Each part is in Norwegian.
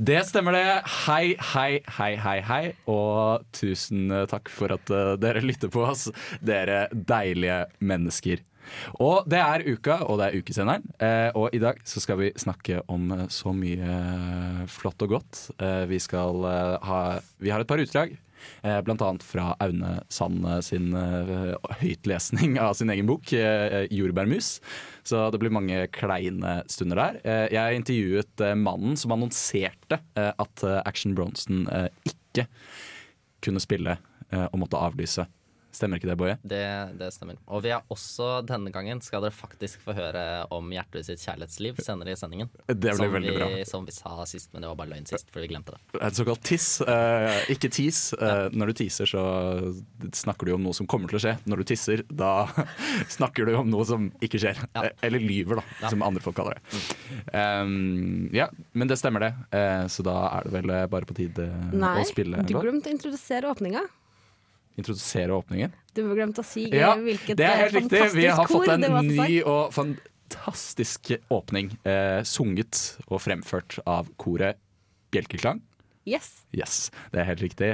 Det stemmer det. Hei, hei, hei, hei, hei. Og tusen takk for at eh, dere lytter på oss, dere deilige mennesker. Og det er uka, og det er ukesenderen. Eh, og i dag så skal vi snakke om eh, så mye eh, flott og godt. Eh, vi skal eh, ha Vi har et par utdrag. Eh, blant annet fra Aune Sand eh, sin eh, høytlesning av sin egen bok, eh, 'Jordbærmus'. Så det blir mange kleine stunder der. Eh, jeg intervjuet eh, mannen som annonserte eh, at eh, Action Bronson eh, ikke kunne spille eh, og måtte avlyse. Stemmer ikke det, Boje? Det, det stemmer. Og vi har også denne gangen skal dere faktisk få høre om Gjertrud sitt kjærlighetsliv senere i sendingen. Det blir som veldig vi, bra. Som vi sa sist, men det var bare løgn sist, fordi vi glemte det. Et såkalt tiss. eh, ikke tis. Eh, når du tiser, så snakker du om noe som kommer til å skje. Når du tisser, da snakker du om noe som ikke skjer. Ja. Eh, Eller lyver, da, Ja. Mm. som andre folk kaller det. Um, ja, men det stemmer, det. Eh, så da er det vel eh, bare på tide Nei, å spille du låt. glemte å introdusere åpninga. Introdusere åpningen. Du glemte å si eh, Ja, hvilket det er helt riktig. fantastisk Vi har fått kor en det var som sang. ny og fantastisk åpning. Eh, sunget og fremført av koret Bjelkeklang. Yes. Yes, det er helt riktig.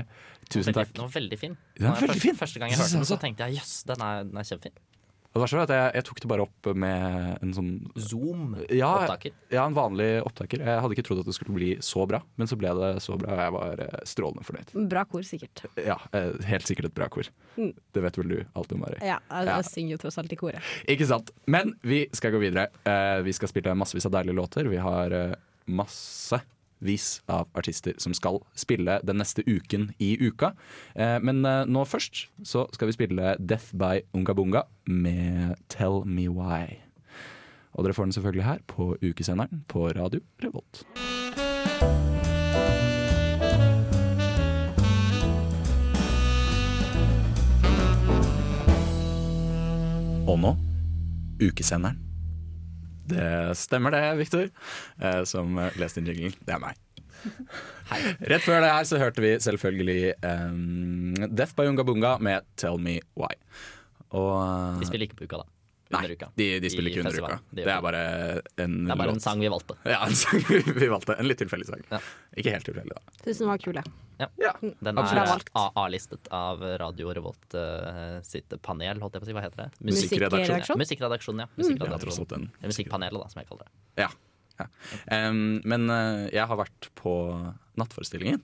Tusen Veldig, takk. den var veldig fin. Den er Når jeg veldig første, fin. Første gang jeg Jeg synes hørte den, så også. tenkte jeg jøss, den, er- den er kjempefin. Og Det verste var at jeg, jeg tok det bare opp med en sånn ja, Zoom-opptaker. ja, en vanlig opptaker. Jeg hadde ikke trodd at det skulle bli så bra, men så ble det så bra, og jeg var eh, strålende fornøyd. Bra kor, sikkert. Ja, eh, helt sikkert et bra kor. Mm. Det vet vel du alt om, Mari. Ja, jeg, Ja. jeg synger jo tross alt i koret. Ikke sant. Men vi skal gå videre. Eh, vi skal spille massevis av deilige låter. Vi har eh, massevis av artister som skal spille den neste uken i uka. Eh, men eh, nå først så skal vi spille Death by Ungabunga med Tell Me Why. Og dere får den selvfølgelig her på ukesenderen på Radio Revolt. Og nå ukesenderen. Det stemmer det, Viktor, eh, som leste inn jinglen. Det er meg. Rett før det her så hørte vi selvfølgelig eh, Death by Unga Bunga med 'Tell Me Why'. Og, eh, De spiller ikke på uka, da. Nei, de, de spiller ikke under uka. Det er bare en det er bare en låt. sang vi valgte. Ja, en sang vi valgte. En litt tilfeldig sang. Ja. Ikke helt tilfeldig, da. Syns den var kul, jeg. Den Absolutt. er Valgt. A- A-listet av Radio Revolt eh, sitt panel, holdt jeg på å si. Hva heter det? Musikkredaksjon. Ja, musikkredaksjonen, ja. Mm. Ja, tross Musikkredaksjonen. alt en. Eller musikkpanelet, da, som jeg kaller det. Ja. ja. Em, men eh, jeg har vært på Nattforestillingen,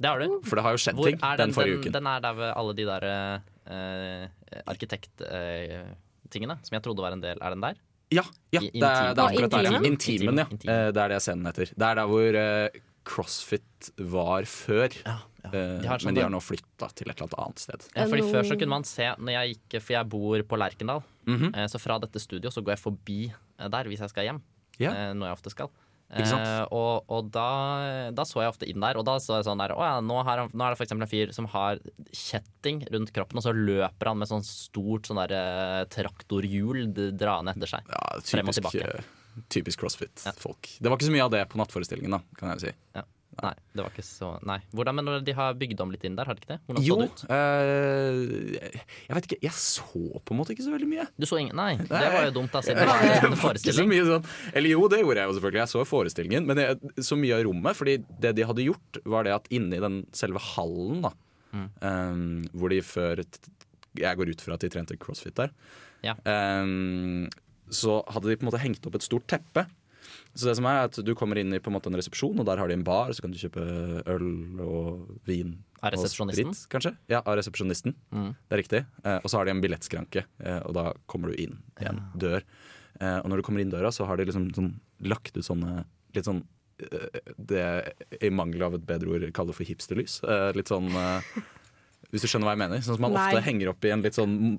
Det har du. for det har jo skjedd Hvor ting er den, den, forrige den, uken. den er der ved alle de der eh, arkitekttingene som jeg trodde var en del. Er den der? Ja, ja I- det, er, det er intimen. akkurat der. Og Intimen, intimen. ja. Intimen. Eh, Det er det scenen heter. Det er der hvor eh, CrossFit var før. Eh, De har sånn men de har der- nå flytta til et eller annet annet sted. Ja, fordi Hello. Før så kunne man se når jeg gikk, For jeg bor på Lerkendal. Mhm. eh, Så fra dette studio så går jeg forbi eh, der hvis jeg skal hjem. Ja. eh, Noe jeg ofte skal. Ikke sant? Eh, og og da, da så jeg ofte inn der, og da så jeg sånn der Å ja, nå, har han, nå er det for eksempel en fyr som har kjetting rundt kroppen, og så løper han med sånn stort sånn der eh, traktorhjul d- draende etter seg. Ja, Frem og typisk, tilbake. eh, typisk CrossFit-folk. Det var ikke så mye av det på nattforestillingen, da, kan jeg si. Ja. Nei, det var ikke så Nei. Hvordan, men når de har bygd om litt inn der, har de ikke det? Hvordan Jo, så det ut? eh, jeg vet ikke. Jeg så på en måte ikke så veldig mye. Du så ingen Nei, det var jo dumt, da, siden det Nei, var det en var ikke så forestilling. mye sånn. Eller jo, det gjorde jeg jo selvfølgelig. Jeg så forestillingen, men jeg, så mye av rommet. Fordi det de hadde gjort, var det at inni den selve hallen, da, Mm. eh, hvor de før t- Jeg går ut fra at de trente crossfit der. Ja. eh, så hadde de på en måte hengt opp et stort teppe. Så det som er at Du kommer inn i på en måte en resepsjon, og der har de en bar. Så kan du kjøpe øl og vin. Av og resepsjonisten? sprit, kanskje? Ja, av resepsjonisten. Mm. Det er riktig. Eh, og så har de en billettskranke, eh, og da kommer du inn i en dør. Eh, og når du kommer inn døra, så har de liksom sånn, lagt ut sånne litt sånn eh, det jeg i mangel av et bedre ord kaller for hipsterlys. Eh, litt sånn eh, Hvis du skjønner hva jeg mener. Sånn som man Nei. ofte henger opp i en litt sånn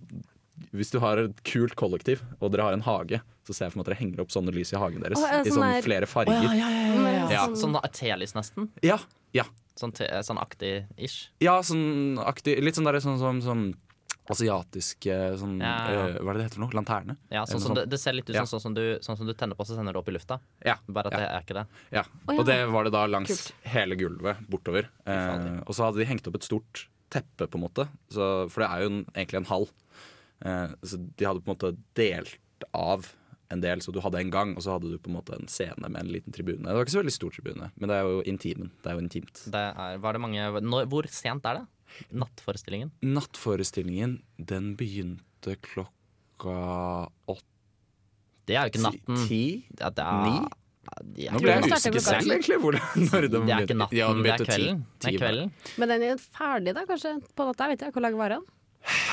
Hvis du har et kult kollektiv, og dere har en hage, så ser jeg for meg at dere henger opp sånne lys i hagen deres. Å, ja, I sånn sånn der- flere farger. ja, Ja. Sånn, sånn telys, nesten. ja. ja. Sånn, te, sånn aktig ish. Ja, sånn aktig Litt sånn der sånn som sånn, asiatiske sånn, Ja, ja, ja. eh, Hva er det det heter for noe? Lanterne? Ja, sånn Eller som noe det, det ser litt ut Ja. som sånn, som du, sånn som du tenner på, så sender du opp i lufta. Ja, Bare at ja. det er ikke det. ja. Å, ja. Og det var det da langs Kult. hele gulvet bortover. Eh, fader. og så hadde de hengt opp et stort teppe, på en måte. Så, for det er jo en, egentlig en hall. Eh, så de hadde på en måte delt av en del, så du hadde en gang, og så hadde du på en måte en scene med en liten tribune. Det var ikke så veldig stor tribune, men det er jo intimen. Det er jo intimt. det er, var det mange, når, hvor sent er det? Nattforestillingen? Nattforestillingen, den begynte klokka åtte. Det er jo ikke natten. Ti? Ja, det Ni? er, Ja, Nå jeg ble tror jeg den det starter usikker selv, klokka ti. egentlig. Hvor, når den det er begynte. ikke natten, Ja, den det er begynte ti- kvelden. Det ti er bare. kvelden. Men den er ferdig da, kanskje? På natta? Jeg vet ikke hvor lang var den?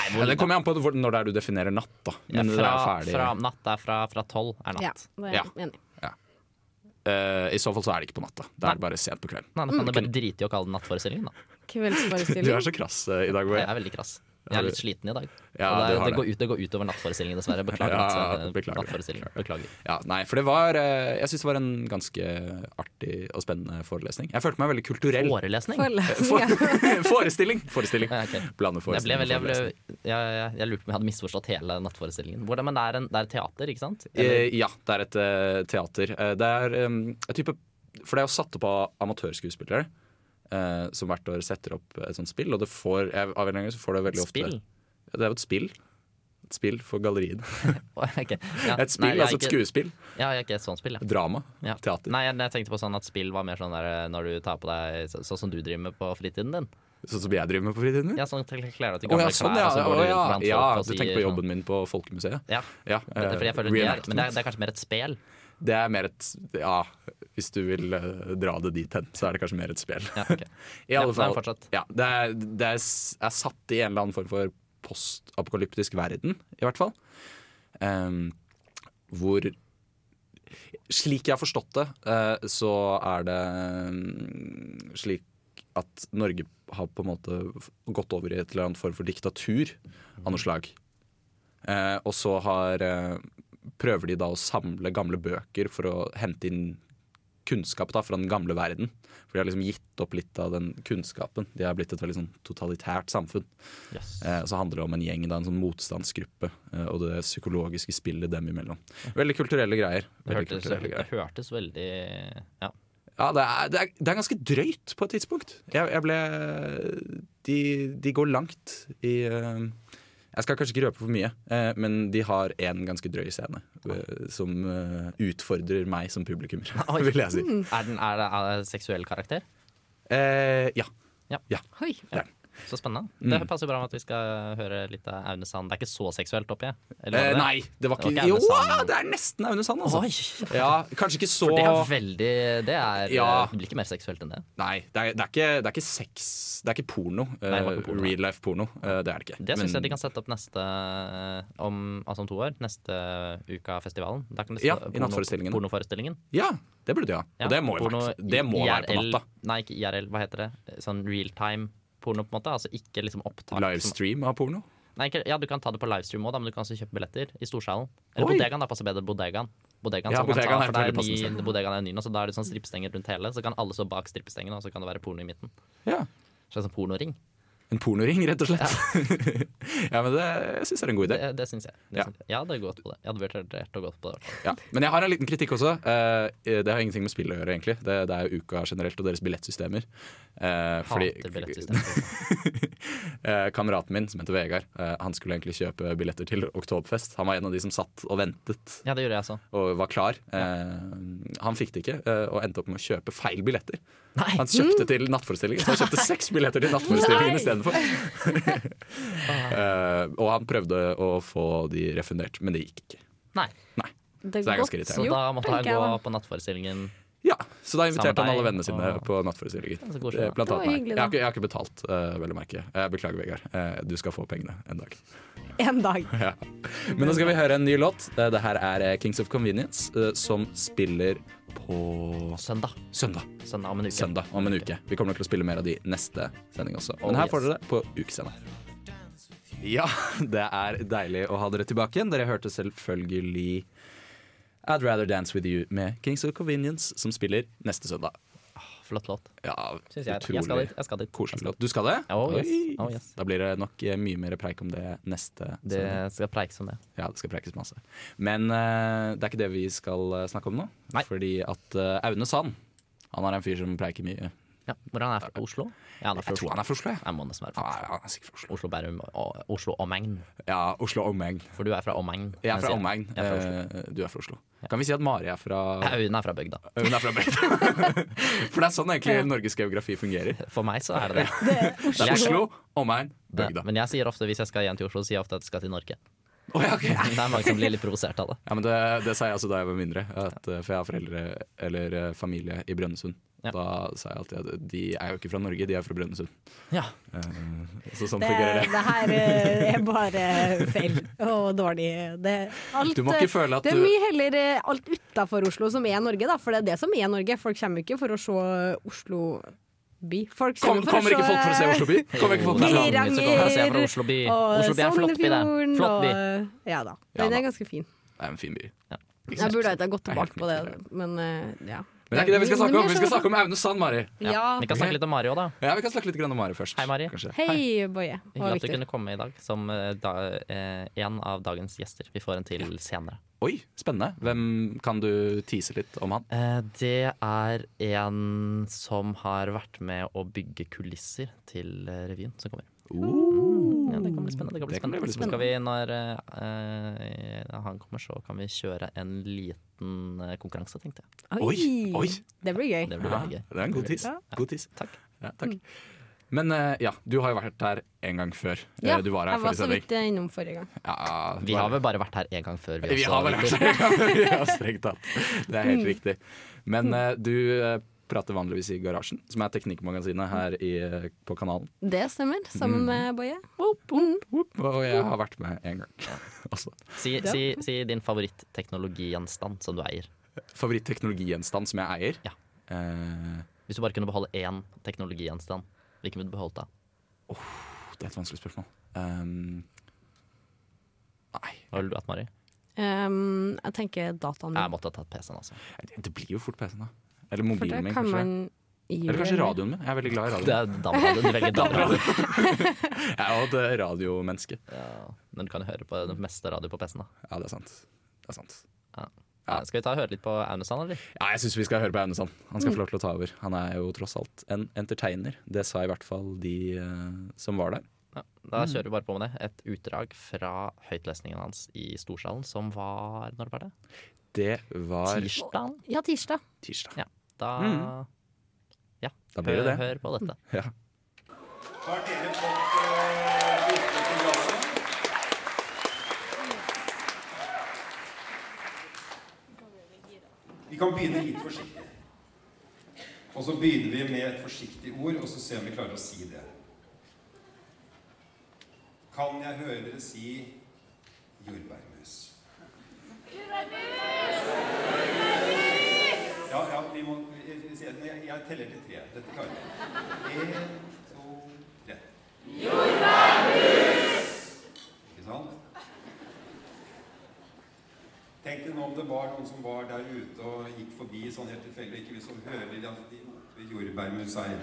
Ja, det kommer an på hvor- når det er du definerer natt, da. Ja, Men det fra, er ferdig. fra, natt er fra, fra tolv er Ja, natt. det er jeg enig. i. Eh, I så fall så er det ikke på natta. Det er bare sent på kvelden. Nei, da kan du bare drite i å kalle det nattforestillingen, da. Du er Kveldsforestilling. så krass eh, i dag, Jeg Boje. er veldig krass. Jeg Har er du- litt sliten i dag. Ja, du Og det, er- har det, det. går, ut, det går utover nattforestillingen, dessverre. Beklager. Ja, natt- beklager. nattforestillingen. beklager. Ja, nei, for det var eh, Jeg syns det var en ganske artig og spennende forelesning. Jeg følte meg veldig kulturell. Forelesning? For, Forelesning, ja. forestilling! Forestilling. Ja, Blande ok. Jeg, ble forestilling veldig, jeg, og ble, forelesning. jeg, jeg, jeg lurte på om jeg hadde misforstått hele nattforestillingen. Hvordan, men det er, en, det er teater, ikke sant? Eller, Eh, ja, det er et eh, teater. Eh, det er eh, en type For det er jo satt opp av amatørskuespillere. eh, som hvert år setter opp et sånt spill, og det får, jeg, av en eller annen grunn så får det veldig ofte spill? Ja, Det er jo et spill. Et spill for galleriet. Ok, ja. Et spill, Nei, jeg er altså et ikke- skuespill. Ja, jeg er ikke et sånt spill, ja. Drama. ja. Teater. Nei, jeg, jeg tenkte på sånn at spill var mer sånn der eh, når du tar på deg så, Sånn som du driver med på fritiden din. Sånn som jeg driver med på fritiden min. Ja, sånn kl- kler deg Å til gamle ja, sånn, klær, ja. og Å, så går du rundt ja. blant folk ja og du sier tenker på sånn- jobben min på Folkemuseet. Ja, Ja, eh, det, fordi jeg føler det er, reenactment. men det er, det er kanskje mer et spel. Det er mer et Ja, hvis du vil eh, dra det dit hen, så er det kanskje mer et spill. Ja, ok. I alle Ja, nei, fall, fortsett. ja, det, er, det er, s- er satt i en eller annen form for postapokalyptisk verden, i hvert fall. Ehm, hvor Slik jeg har forstått det, eh, så er det mm, slik at Norge har på en måte f- gått over i et eller annet form for diktatur av noe slag. Eh, og så har, eh, prøver de da å samle gamle bøker for å hente inn kunnskap da, fra den gamle verden. For de har liksom gitt opp litt av den kunnskapen. De har blitt et veldig sånn totalitært samfunn. Yes. Eh, og så handler det om en gjeng, da, en sånn motstandsgruppe, eh, og det psykologiske spillet dem imellom. Veldig kulturelle greier. Det, Veldig hørtes, kulturelle det greier. hørtes veldig Ja. Ja, det er, det, er, det er ganske drøyt på et tidspunkt. Jeg, jeg ble de, de går langt i eh, Jeg skal kanskje ikke røpe for mye, eh, men de har én ganske drøy scene eh, som eh, utfordrer meg som publikummer, Oi. vil jeg si. Er, den, er, det, er det seksuell karakter? Eh, ja. Oi. Det er den. Så spennende. Mm. Det passer bra med at vi skal høre litt av Aune Sand. Det er ikke så seksuelt oppi? Eller Eh, var det det? nei, det var Det var ikke, ikke Aune Jo, Sand. det er nesten Aune Sand, altså. Oi! Ja, kanskje ikke så For det er veldig Det, er, Ja. det blir ikke mer seksuelt enn det. Nei, det er, det er, ikke, det er ikke sex Det er ikke porno. det var ikke eh, porno. Real life porno. eh, det er det ikke. Det syns Men- jeg de kan sette opp neste om, altså om to år. Neste uka av festivalen. Da kan det Ja, stå i porno- nattforestillingen. Pornoforestillingen. Ja, det burde de ha. Ja, Og det må jo porno være, det må være på IRL natta. Nei, ikke IRL, hva heter det? Sånn real time porno, på en måte. Altså ikke liksom opptak. som- Livestream av porno. Nei, ikke, ja, du kan ta det på livestream òg, men du kan også kjøpe billetter i storsalen. Eller Oi. bodegaen, da passer bedre. Bodegaen. Bodegaen, Ja, så man kan bodegaen er ta, for et det er veldig passende ny, bodegaen er ny nå, så da er det sånn strippstenger rundt hele. Så kan alle stå bak strippestengene, og så kan det være porno i midten. Ja. Slags sånn pornoring. En pornoring, rett og slett. Ja, men det jeg synes jeg er en god idé. Det, det syns jeg. Det Ja. syns jeg. jeg hadde gått på det. Jeg hadde vurdert å gå på det. Ja. Men jeg har en liten kritikk også. Eh, det har ingenting med spill å gjøre, egentlig. Det, det er jo uka generelt, og deres billettsystemer. Eh, fordi- Hater billettsystemet. Eh, kameraten min som heter Vegard, eh, han skulle egentlig kjøpe billetter til Oktoberfest. Han var en av de som satt og ventet Ja, det gjorde jeg også. og var klar. Eh, han fikk det ikke, eh, og endte opp med å kjøpe feil billetter. Nei! Han kjøpte til nattforestillingen, så han kjøpte seks billetter til nattforestillingen Nei! istedenfor. eh, og han prøvde å få de refundert, men det gikk ikke. Nei. Nei. Det Så det er er ganske godt irriterende. Så gjort, da måtte han tenker jeg gå da. på nattforestillingen. Ja, Så da inviterte han Sammen alle med vennene deg, sine og- på nattforestillingen. Ja, så koselig, da. Eh, Blant Det var annet meg. hyggelig, Jeg da. har ikke, jeg har ikke betalt, eh, vel å merke. Eh, beklager, Vegard. Eh, du skal få pengene en dag. En dag. Ja. Men nå skal vi høre en ny låt. Eh, Det her er eh, Kings of Convenience, eh, som spiller på Søndag. søndag. Søndag om en uke. Søndag om en uke. Vi kommer nok til å spille mer av de neste sending også. Men Oh, her yes. får dere det på ukesending. Ja, det er deilig å ha dere tilbake igjen. Dere hørte selvfølgelig I'd Rather Dance With You med Kings of Convenience, som spiller neste søndag. Flott låt, Ja, syns jeg. Jeg skal dit. Jeg skal dit. Koselig låt. Du skal det? Oh, yes. Oi. Oh, yes. Da blir det nok eh, mye mer preik om det neste. Det sending. skal preikes om det. Ja, det skal preikes masse. Men eh, det er ikke det vi skal eh, snakke om nå. Nei. Fordi at eh, Aune Sand Han er en fyr som preiker mye. Ja, hvor han er fra Oslo? Ja, han er fra Jeg Oslo. tror han er fra Oslo, jeg. Jeg må nesten være Ja, fra ja, han er sikkert fra Oslo. Oslo, Bærum og Oslo omegn. Ja, Oslo omegn. For du er fra omegn. Jeg er fra mens omegn. Jeg er fra Oslo. Eh, Du er fra Oslo. Kan vi si at Mari er fra Aune er fra bygda. Hun er fra Bredtvet. For det er sånn egentlig Norges geografi fungerer. For meg så er det det. Det er Det er Oslo. Oslo, omegn, Ja, bygda. Men jeg sier ofte hvis jeg skal hjem til Oslo, sier jeg ofte at jeg skal til Norge. Å, ja, ok. Det er mange som blir litt provosert av det. Ja, men det, det sa jeg også da jeg var mindre, at, eh, for jeg har foreldre eller eh, familie i Brønnøysund. Ja. Da sa jeg alltid at de er jo ikke fra Norge, de er fra Brønnøysund. Ja, Så sånn Det, fungerer det. det her eh, er bare feil og dårlig. Det, alt, eh, Du må ikke føle at det er du- mye heller eh, alt utafor Oslo som er Norge, da. For det er det som er Norge. Folk kommer jo ikke for å se Oslo by. Folk Kom, kommer for kommer å ikke folk for å se Oslo by? Kommer ikke folk for å se Lira. Oslo by? Så kommer jeg og ser fra Geiranger Oslo by. og Oslo by er en flott by, det. Sognefjorden Flott by. og Ja da. Ja Den da. er ganske fin. Det er en fin by. Jeg burde ikke ha gått Det er helt tilbake på det, men eh, ja. Men det er ikke det vi skal snakke om, vi skal snakke om Aune Sand, Mari. ja. Ja. Vi kan snakke litt om Mario, da. Ja, vi kan snakke litt grann om Mari først. Hei, Mari. kanskje. Hei, Boje. Det Hyggelig at var du viktig. kunne komme i dag som eh, da, eh, en av dagens gjester. Vi får en til senere. Oi, spennende. Hvem Kan du tease litt om han? Eh, det er en som har vært med å bygge kulisser til eh, revyen som kommer. Ja, det kan bli spennende. Det kan bli Det kan bli veldig spennende. Så skal vi, når eh, eh, han kommer, så kan vi kjøre en liten eh, konkurranse, tenkte jeg. Oi, oi. Det blir gøy. Det blir Ja, veldig Uh, det gøy. er en god tease. Ja. God tease. Takk. Ja, takk. Men eh, ja, du har jo vært her en gang før. Eh, du var her jeg var forrige så sending. vidt eh, innom forrige gang. Ja, Vi har vel bare vært her én gang før. Vi også, har vel Victor. vært her, ja, strengt tatt. Det Mm. er helt riktig. Men eh, du eh, prater vanligvis i Garasjen, som er teknikkmagasinet her i, eh, på kanalen. Det stemmer, Mm. sammen med Boje. Og jeg har vært med en gang også. Si, si, si din favoritt-teknologigjenstand som du eier. Favoritt-teknologigjenstand som jeg eier? Ja. Eh, Hvis du bare kunne beholde én teknologigjenstand, hvilken ville du beholdt da? det er et vanskelig spørsmål. Um, nei, Hva ville du hatt, Mari? Um, jeg tenker dataen Jeg min. måtte ha tatt PC-en, altså. det- det blir jo fort PC-en, da. Eller For mobilen da min, kan kanskje. man gjøre Eller kanskje radioen min. Jeg er veldig glad i Det radio. er DAB-radio. Du velger DAB-radio. Jeg er jo et radiomenneske. Ja, men du kan jo høre på det meste radio på PC-en, da. Ja, det er sant. Det er sant. Ja. Ja, skal vi ta og høre litt på Aune Sand, eller? Ja, jeg syns vi skal høre på Aune Sand. Han Mm. skal få lov til å ta over. Han er jo tross alt en entertainer. Det sa i hvert fall de eh, som var der. Ja, da kjører vi bare på med det. Et utdrag fra høytlesningen hans i Storsalen, som var Når var det? Det var Tirsdagen? Ja, tirsdag. tirsdag. Ja. Da Mm. Ja, Da blir det hør, det. hør på dette. Ja. Har dere fått eh, borte på glasset? Vi kan begynne litt forsiktig. Og så begynner vi med et forsiktig ord, og så ser vi om vi klarer å si det. Kan jeg høre dere si jordbærmus? Ja, ja, vi må vi- vi- vi- Jeg jeg teller til tre. Dette klarer vi. En, to, tre. Jordbærmus! Ikke sant? Tenk deg nå om det var noen som var der ute og gikk forbi sånn helt tilfeldig, ikke liksom hører at de roper 'jordbærmus' her.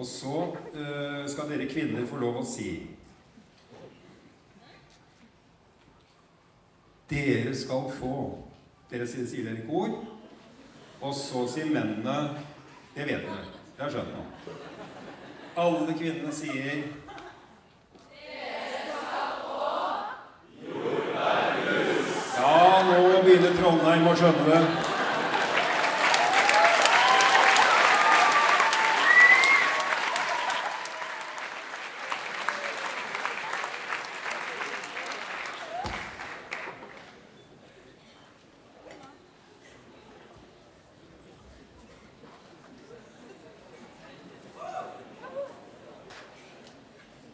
Og så eh, skal dere kvinner få lov å si Dere skal få Dere sier, sier dere i kor. Og så sier mennene Det vet dere. Det har jeg skjønt nå. Alle kvinnene sier Ja, nå begynner Trondheim å skjønne det.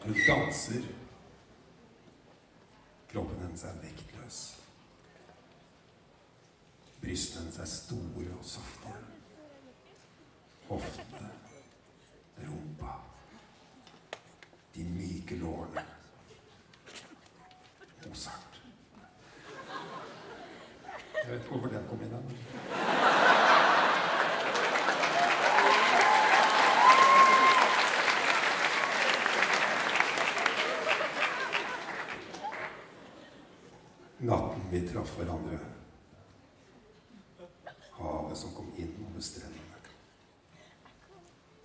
Hun danser. Kroppen hennes er vektløs. Brystene hennes er store og saftige. Hoftene, rumpa, de myke lårene. Mozart. Jeg vet ikke hvorfor den kom inn her. Natten vi traff hverandre. Havet som kom inn over strendene.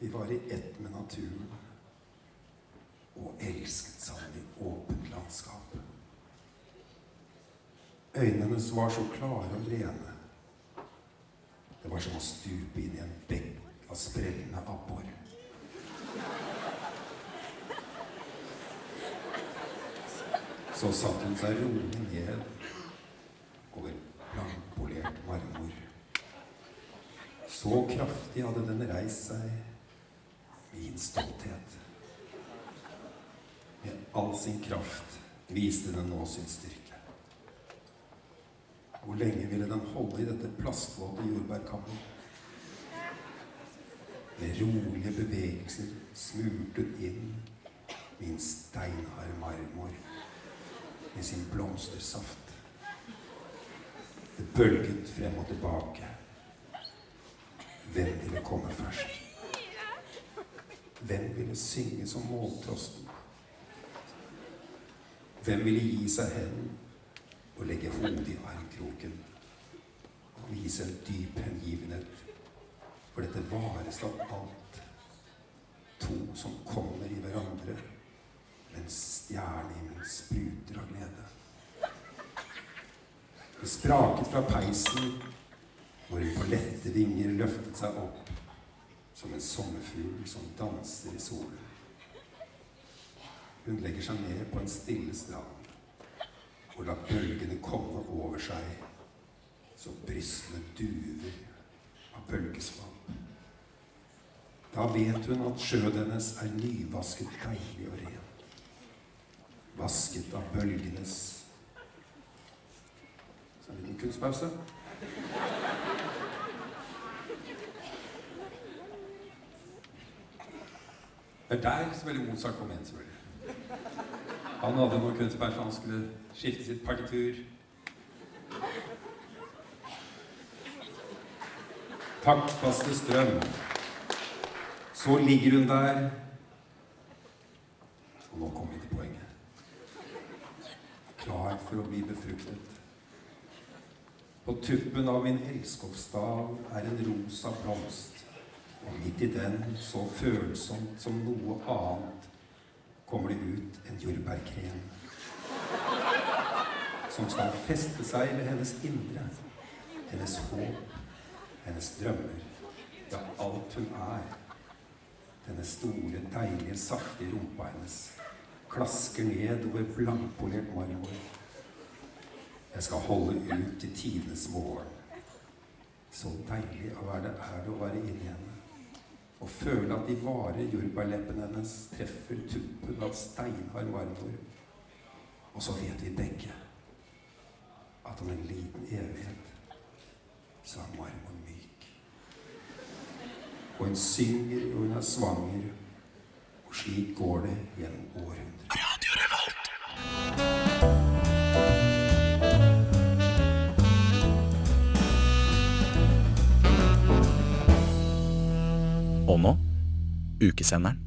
Vi var i ett med naturen og elsket sammen i åpent landskap. Øynene hennes var så klare og rene. Det var som å stupe inn i en bekk av sprellende abbor. Så satte hun seg rolig ned over blankpolert marmor. Så kraftig hadde den reist seg, min stolthet. Med all sin kraft viste den nå sin styrke. Hvor lenge ville den holde i dette plastvåte jordbærkammeret? Med rolige bevegelser smurtet inn min steinharde marmor med sin blomstersaft. Det bølget frem og tilbake. Hvem ville komme først? Hvem ville synge som måltrosten? Hvem ville gi seg hen og legge hodet i armkroken og vise en dyp hengivenhet for dette vareste av alt? To som kommer i hverandre mens stjernehimmelen spruter av glede. Det spraket fra peisen hvor hun på lette vinger løftet seg opp som en sommerfugl som danser i solen. Hun legger seg ned på en stille strand og lar bølgene komme over seg som brystne duver av bølgesvamp. Da vet hun at sjøen hennes er nyvasket, deilig og ren. Vasket av bølgenes Så en liten kunstpause. Det er der selvfølgelig Mozart kom inn, selvfølgelig. Han hadde noe kunstpause, han skulle skifte sitt partitur. Taktfaste strøm. Så ligger hun der. Og nå kommer vi til poenget. Klar for å bli befruktet. På tuppen av min elskovsstav er en rosa blomst. Og midt i den, så følsomt som noe annet, kommer det ut en jordbærkrem. Som skal feste seg ved hennes indre, hennes håp, hennes drømmer. Ja, alt hun er. Denne store, deilige, saftige rumpa hennes klasker ned over blankpolert marmor. Jeg skal holde ut til tidenes morgen. Så deilig å være, er det å være inni henne. Å føle at de vare jordbærleppene hennes treffer tuppen av steinhard marmor. Og så vet vi begge at om en liten evighet så er marmoren myk. Og hun synger, og hun er svanger. Og slik går det gjennom århundrer. Og nå ukesenderen.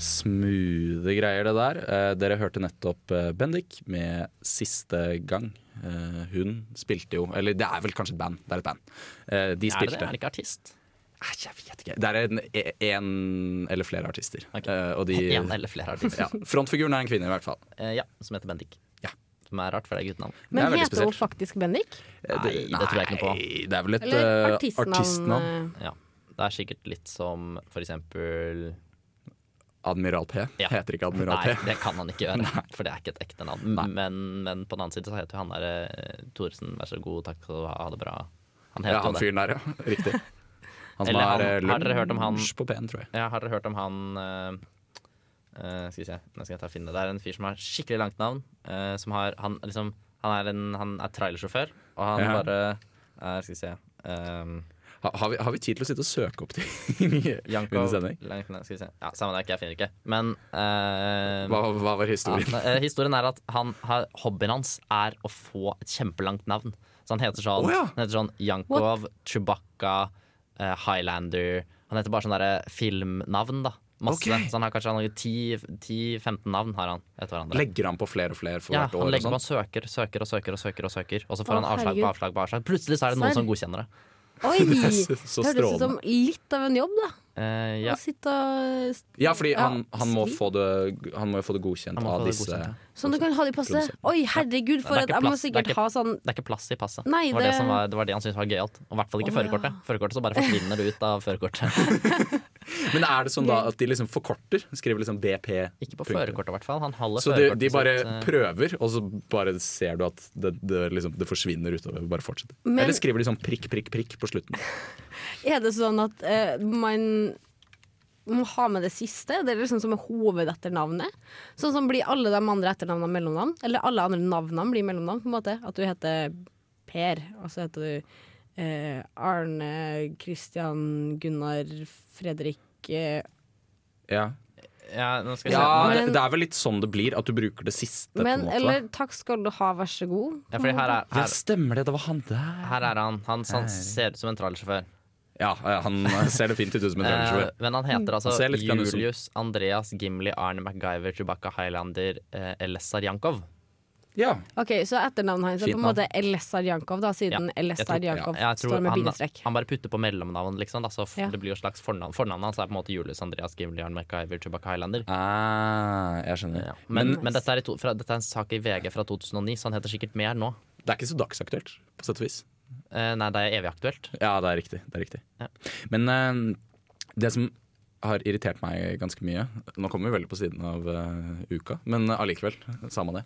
Smoothe greier, det der. Eh, dere hørte nettopp eh, Bendik med 'Siste gang'. Eh, hun spilte jo Eller det er vel kanskje et band. Det er et band. Eh, de Er det spilte det? Er det ikke artist? Eh, Jeg vet ikke. Det er en, en eller flere artister. Ok. Eh, og de En eller flere artister. ja, Frontfiguren er en kvinne, i hvert fall. Eh, ja, som heter Bendik. Ja. Som er rart, for det er guttenavn. Det er Men veldig heter hun spesielt. faktisk Bendik? Eh, Nei, det tror jeg ikke noe på. nei, Det er vel et Eller eh, artistnavn? artistnavn. eh, Ja. Det er sikkert litt som for eksempel Admiral P. Ja. Heter ikke Admiral Nei, P. det kan han ikke gjøre, for det er ikke et ekte navn. Men, men på den annen side så heter jo han der eh, Thoresen, vær så god, takk skal du ha, ha det bra. Han Ja, heter han jo det. fyren der, ja. Riktig. Han som Eller han- er eh, har dere hørt om han- lunsj på P-en, tror jeg. Ja, har dere hørt om han eh, eh, Skal vi se, nå skal jeg ta og finne det. Det er en fyr som har skikkelig langt navn. eh, som har Han liksom Han er, en, han er trailersjåfør, og han Ja. bare er Skal vi se eh, Ha, har, vi, har vi tid til å sitte og søke opp ting Janko- under sending? Langt ned, skal vi se. Ja, Samme det, jeg finner ikke. Men eh, Hva, hva var historien? Ja, eh, historien er at han, har- hobbyen hans er å få et kjempelangt navn. Så han heter sånn, Å, ja. han heter sånn Jankov, Chewbacca, eh, Highlander Han heter bare sånne der filmnavn, da. Masse. Ok. Så han har kanskje han har 10-15 navn har han etter hverandre. Legger han på flere og flere for ja, hvert han år? legger og man sånn? søker, søker og søker og søker, og søker Og så får Å, han avslag på herregud. avslag på avslag. Plutselig så er det noen Serr? som godkjenner det. Oi! Så- Det så høres ut som strålende. litt av en jobb, da. Eh, ja. Å sitte og Ja, fordi han, Ja, han, må sweet. få det, han må jo få det godkjent Han må få av det disse godkjent, ja. Sånn du kan ha det i passet. Produsent. Oi, herregud, for det er at ikke jeg må plass. Det er sikkert ikke- ha sånn Det er ikke plass i passet. Nei, det, var det, det- som var, det var det han syntes var gøyalt. Og I hvert fall ikke Å, ja. førerkortet. Førerkortet så bare forsvinner det ut av førerkortet. Men er det sånn da at de liksom forkorter? Skriver liksom BP? Ikke på punktum. førerkortet, i hvert fall. Han holder Så de, førerkortet de bare sitt, eh, prøver, og så bare ser du at det, det, liksom, det forsvinner utover. Bare fortsetter. Men- Eller skriver de sånn prikk, prikk, prikk på slutten. Er det sånn at eh, man må ha med det siste? Det er liksom som er hovedetternavnet. Sånn som blir alle de andre etternavnene mellomnavn. Eller alle andre navnene blir mellomnavn, på en måte. At du heter Per, og så heter du eh, Arne, Christian, Gunnar, Fredrik eh, Ja, Ja, nå skal vi ja se. det, Men- det er vel litt sånn det blir, at du bruker det siste. Men på en måte. eller takk skal du ha, vær så god. Ja, fordi her er, Ja, her, stemmer det. Det var han der. her er han. Han, han ser ut som en trallsjåfør. Ja, eh, han eh, ser det fint ut som en Eh, trailershow. men han heter altså Han ser litt grann ut som- Julius Andreas Gimli Arne MacGyver Chewbacca Highlander eh, Elessar Jankov. Ja. Ok, Så etternavnet hans er Fint på en måte Elessar Jankov, da, siden Ja, jeg tror- Elessar Jankov Jeg tror står med han, bindestrek. han bare putter på mellomnavn, liksom. Da, så f- Ja. det blir jo et slags fornavn. Fornavnet hans er på en måte Julius Andreas Gimli Arne MacGyver Chewbacca Highlander. Ah, jeg skjønner. Ja. Men, men dette, er i to, fra, dette er en sak i VG fra 2009, så han heter sikkert mer nå. Det er ikke så dagsaktuelt, på sett og vis. Eh, nei, det er evig aktuelt. Ja, det er riktig. Det er riktig. Ja. Men eh, det som har irritert meg ganske mye Nå kommer vi veldig på siden av eh, uka, men allikevel, samme det.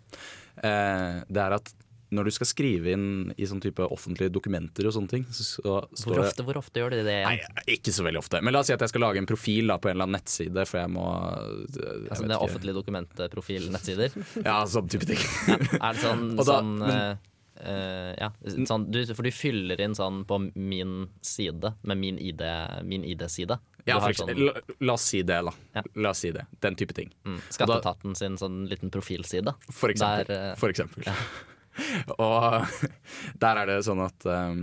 Eh, det er at når du skal skrive inn i sånn type offentlige dokumenter og sånne ting, så, så Hvor står det ofte, hvor ofte gjør de det? igjen? Nei, ikke så veldig ofte. Men la oss si at jeg skal lage en profil da, på en eller annen nettside, for jeg må eh, jeg altså, vet det er ikke. offentlige dokumentprofil-nettsider. Ja, sånn type ting. Er det sånn, Og da- sånn eh, eh, ja, sånn, du, for du fyller inn sånn på min side, med min ID, min ID-side. Ja, for sånn, eksempel, la, la oss si det, da. Ja. La oss si det. Den type ting. mm, Skatteetaten sin sånn liten profilside. For eksempel. Der, eh, for eksempel. og der er det sånn at um,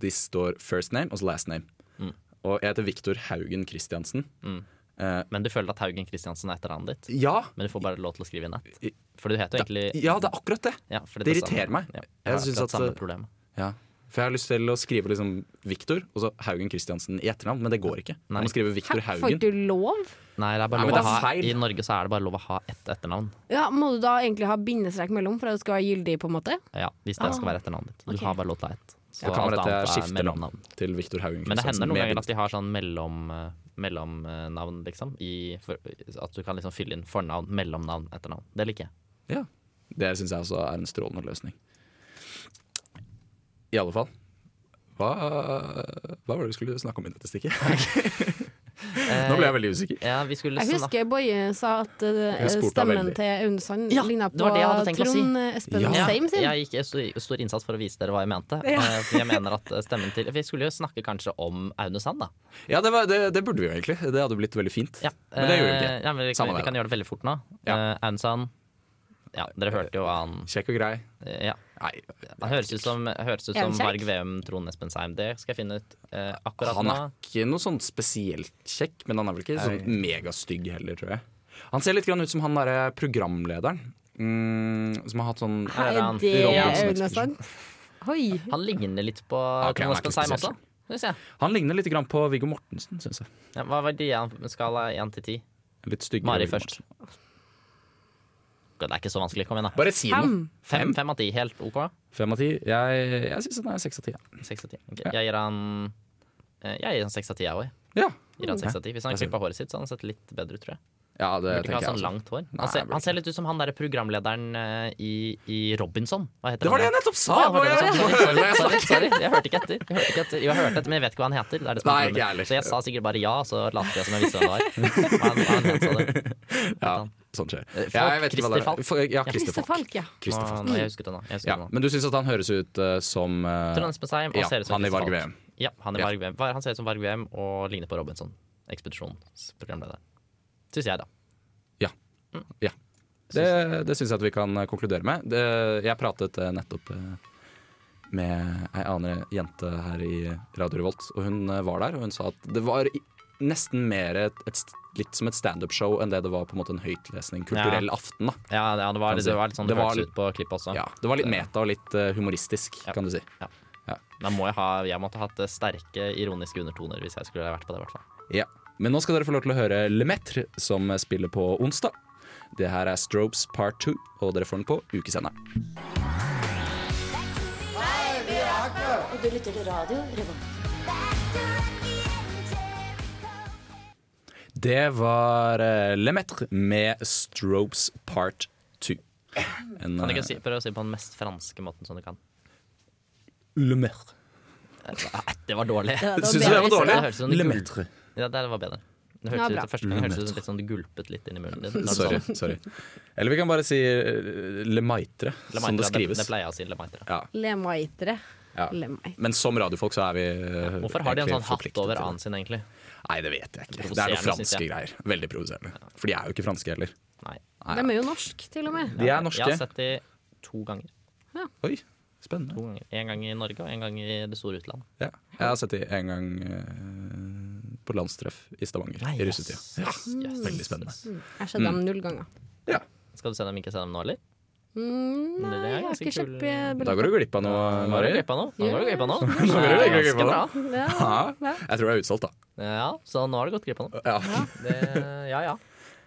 de står first name og så last name. Mm. Og jeg heter Viktor Haugen Christiansen. Eh, Men du føler at Haugen Christiansen er etternavnet ditt. ja, Men du får bare lov til å skrive inn ett. For du heter jo egentlig ja, det er akkurat det! ja, for det er irriterer samme. meg. Ja, Jeg jeg har synes at- akkurat eh, samme problem. Ja. For jeg har lyst til å skrive liksom Viktor og så Haugen Christiansen i etternavn, men det går ikke. Nei. Man må skrive Viktor Hæ, Får Haugen. ikke du lov? Nei, det er bare Nei, men lov det å er ha, feil. I Norge så er det bare lov å ha ett etternavn. Ja, Må du da egentlig ha bindestrek mellom for at det skal være gyldig? på en måte? Ja, Hvis det Ah, skal være etternavnet ditt. Du ok. har bare lov til å ha ett. Så Så kan alt være at annet jeg er skifter navn Sånn mellomnavn. til Viktor Haugen Men det Christiansen. hender noen med ganger bind. at de har sånn mellom, mellomnavn, liksom. I, for, at du kan liksom fylle inn fornavn, mellomnavn, etternavn. Det liker jeg. Ja. Det syns jeg også er en strålende løsning. I alle fall. Hva, hva var det du skulle snakke om i dette stikket? Nå ble jeg veldig usikker. Eh, Ja, vi skulle Jeg snakke husker Boje sa at eh, Jeg spurte deg stemmen veldig. til Aune Sand Ja, ligna det var på det jeg hadde tenkt å si. Trond Espen Ja. ja, Seim sin. Jeg gikk i stor, stor innsats for å vise dere hva jeg mente. Ja. Eh, for Jeg mener at stemmen til Vi skulle jo snakke kanskje om Aune Sand, da. Ja, det, var, det, det burde vi jo egentlig. Det hadde blitt veldig fint. Ja, Men det gjorde vi eh, ikke. Ja, men vi, Samme kan, vi det, kan gjøre det veldig fort nå. Ja. Eh, Aune Sand. Ja, dere hørte jo hva han Kjekk og grei. eh, Ja. Nei, Han høres ut som, høres ut som Jævlig kjekk. Varg Veum, Trond Espen Seim. Det skal jeg finne ut eh, akkurat han nå. er ikke noe sånn spesielt kjekk, men han er vel ikke sånn megastygg heller, tror jeg. Han ser litt grann ut som han derre programlederen. Mm, som har hatt sånn Hei, Her er han. det Robinson er Aune Expedition. Sand. Oi. Han ligner litt på Ok, han er Trond ikke Espen Seim spesielt også. Synes jeg. Han ligner litt grann på Viggo Mortensen, syns jeg. Ja, hva var de an- skala én til ti? Litt styggere. Mari Viggo først. Det er ikke så vanskelig. Kom igjen, da. Bare si Fem. noe. Fem, fem av ti. Helt OK? Fem av ti. Jeg, jeg syns han er seks av ti. Ja. Seks av ti. Ok, Jeg gir han eh, Jeg gir han seks av ti, jeg òg. Ja. Gir han seks av ti. Hvis han Jeg ser klipper håret sitt, så hadde han sett litt bedre ut, tror jeg. ja, det Burde ikke tenker ha jeg. sånn også. langt hår. Nei, Han ser, burde han ser litt ut som han der programlederen eh, i, i Robinson. Hva heter Det var det han? jeg nettopp sa! Å, ja, var det Bård. det du sa? Sorry, sorry, sorry, jeg hørte ikke etter. Jeg hørte ikke etter. Jo, jeg hørte etter, men jeg vet ikke hva han heter. Det er det som Nei, er problemet. ikke jeg heller. så jeg sa sikkert bare ja, så lot jeg som jeg visste hva det var. Han, han het så det. Ja, sånn skjer. Eh, Falk, Ja, jeg vet ikke hva det Christer Falk. er. For- Ja, Christer Christer Falk. Falk, ja. Christer Nå, Falk. nå, jeg husket det nå. Jeg husket Ja, det nå. men du syns at han høres ut eh, som eh, Trond Espen Seim og ja, ser ut som han i Christer Varg Falk. VM. Ja, han, er Ja. Varg Veum. Var- han ser ut som Varg Veum og ligner på Robinson. Ekspedisjonsprogramlederen. Syns jeg, da. Det, det syns jeg at vi kan eh, konkludere med. Det, jeg pratet eh, nettopp eh, med ei annen jente her i Radio Revolt, og hun eh, var der, og hun sa at det var i- nesten mer et, et, st- litt som et standup-show enn det det var på en måte en høytlesning. Kulturell aften, da. Ja, det, ja, det, var, Kan det, si. var litt sånn Det det var hørtes litt- ut på klippet også. Ja, det var litt meta og litt eh, humoristisk, Ja. kan du si. Da må jeg, ha, jeg måtte hatt eh, sterke ironiske undertoner hvis jeg skulle vært på det. i hvert fall. Ja. Men nå skal dere få lov til å høre Lemaitre, som spiller på onsdag. Det her er Strobes Part 2, og dere får den på ukesenderen. Og du lytter til radio Revolt. Det var uh, Lemaitre med Strobes Part 2. En, Kan du eh, ikke si, prøve å si det på den mest franske måten som du kan? Lemaitre. Eh, Det var dårlig. Det var- Syns du var det var bedre i dårlig? Det hørtes ut stedet. som det gul- Lemaitre. Ja, det var bedre. Det Ja, hørtes bra. ut, første gang hørtes det ut som litt sånn du gulpet litt inn i munnen din. Sånn Sorry. Sånn sorry. Eller vi kan bare si eh, Lemaitre, som det Det, skrives. det pleier jeg å si. Lemaitre. Lemaitere. Ja. Lemaitere. Men som radiofolk så er vi eh, Hvorfor har de en egentlig sånn hatt forpliktet over til det. annen sin, egentlig? Nei, det vet jeg ikke. Det er Provoserende, noen franske synes jeg. greier. Veldig provoserende. For de er jo ikke franske heller. Nei. De er jo norsk, til og med. De er Jeg har norske. sett de to ganger. Oi, spennende. To ganger. En gang i Norge og en gang i det store utland. Ja. Jeg har sett de en gang eh, på landstreff i Stavanger i russetida. Ja. Veldig spennende. Jeg har sett Mm. dem null ganger. Ja. Skal du se dem ikke se dem nå, eller? Mm, Det er nei, jeg har ganske ikke kul- eh, kjøpt billett. Da går du glipp av noe, Nå har du Mari. glipp av noe. Nå har du glipp av noe. Nå går du glipp av Ganske noe. bra. Ja. Ja. Jeg tror det er utsolgt, da. Ja, så nå har du gått glipp av noe. Ja. Det, ja, ja.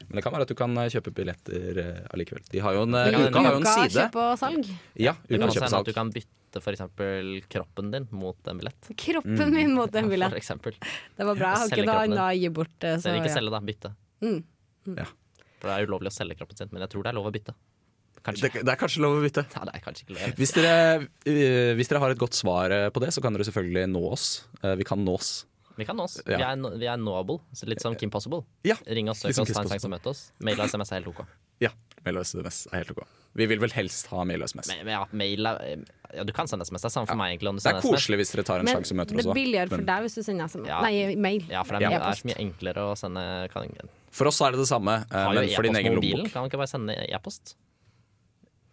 Men det kan være at du kan eh, kjøpe billetter eh, allikevel. De har jo en, Det kan- eh, uka har jo en Uka side. kjøp og salg. Ja, Det uka kan også hende at kjøpesalg. du kan bytte f.eks. kroppen din mot en billett. Mm. Kroppen min mot en For billett. eksempel. Det var bra. Jeg har Selge ikke noe kroppen din. annet å gi bort. eh, Så, Eller ikke ja. selge, da. Bytte. Mm. Ja. For det er ulovlig å selge kroppen sin, men jeg tror det er lov å bytte. Kanskje. Det, det er kanskje lov å bytte. Ja, det er kanskje ikke lov. Hvis dere, eh, hvis dere har et godt svar eh, på det, så kan dere selvfølgelig nå oss. Eh, Vi kan nås. Vi kan nå oss. Ja. Eh, Vi, er, no- vi er knowable. Så litt som Kim Possible. Ja, Ring oss, søk litt som oss, ta Kim en sjanse og møte oss. Mail og SMS er helt OK. Ja, Mail og SMS er helt ok. Vi vil vel helst ha mail og SMS. Men, men ja, mail er, ja, du kan sende SMS. Det er samme for meg, egentlig. Om du Det er sender SMS. koselig hvis dere tar en Men sjanse og møter det oss er også. billigere for Men deg hvis du sender SMS. Ja. Nei, mail. Ja, for det er, mye- det er E-post. så mye enklere å sende kan, For oss er det det samme, eh, Har jo men for din e-post på egen mobilen. lommebok. Kan man ikke bare sende e-post?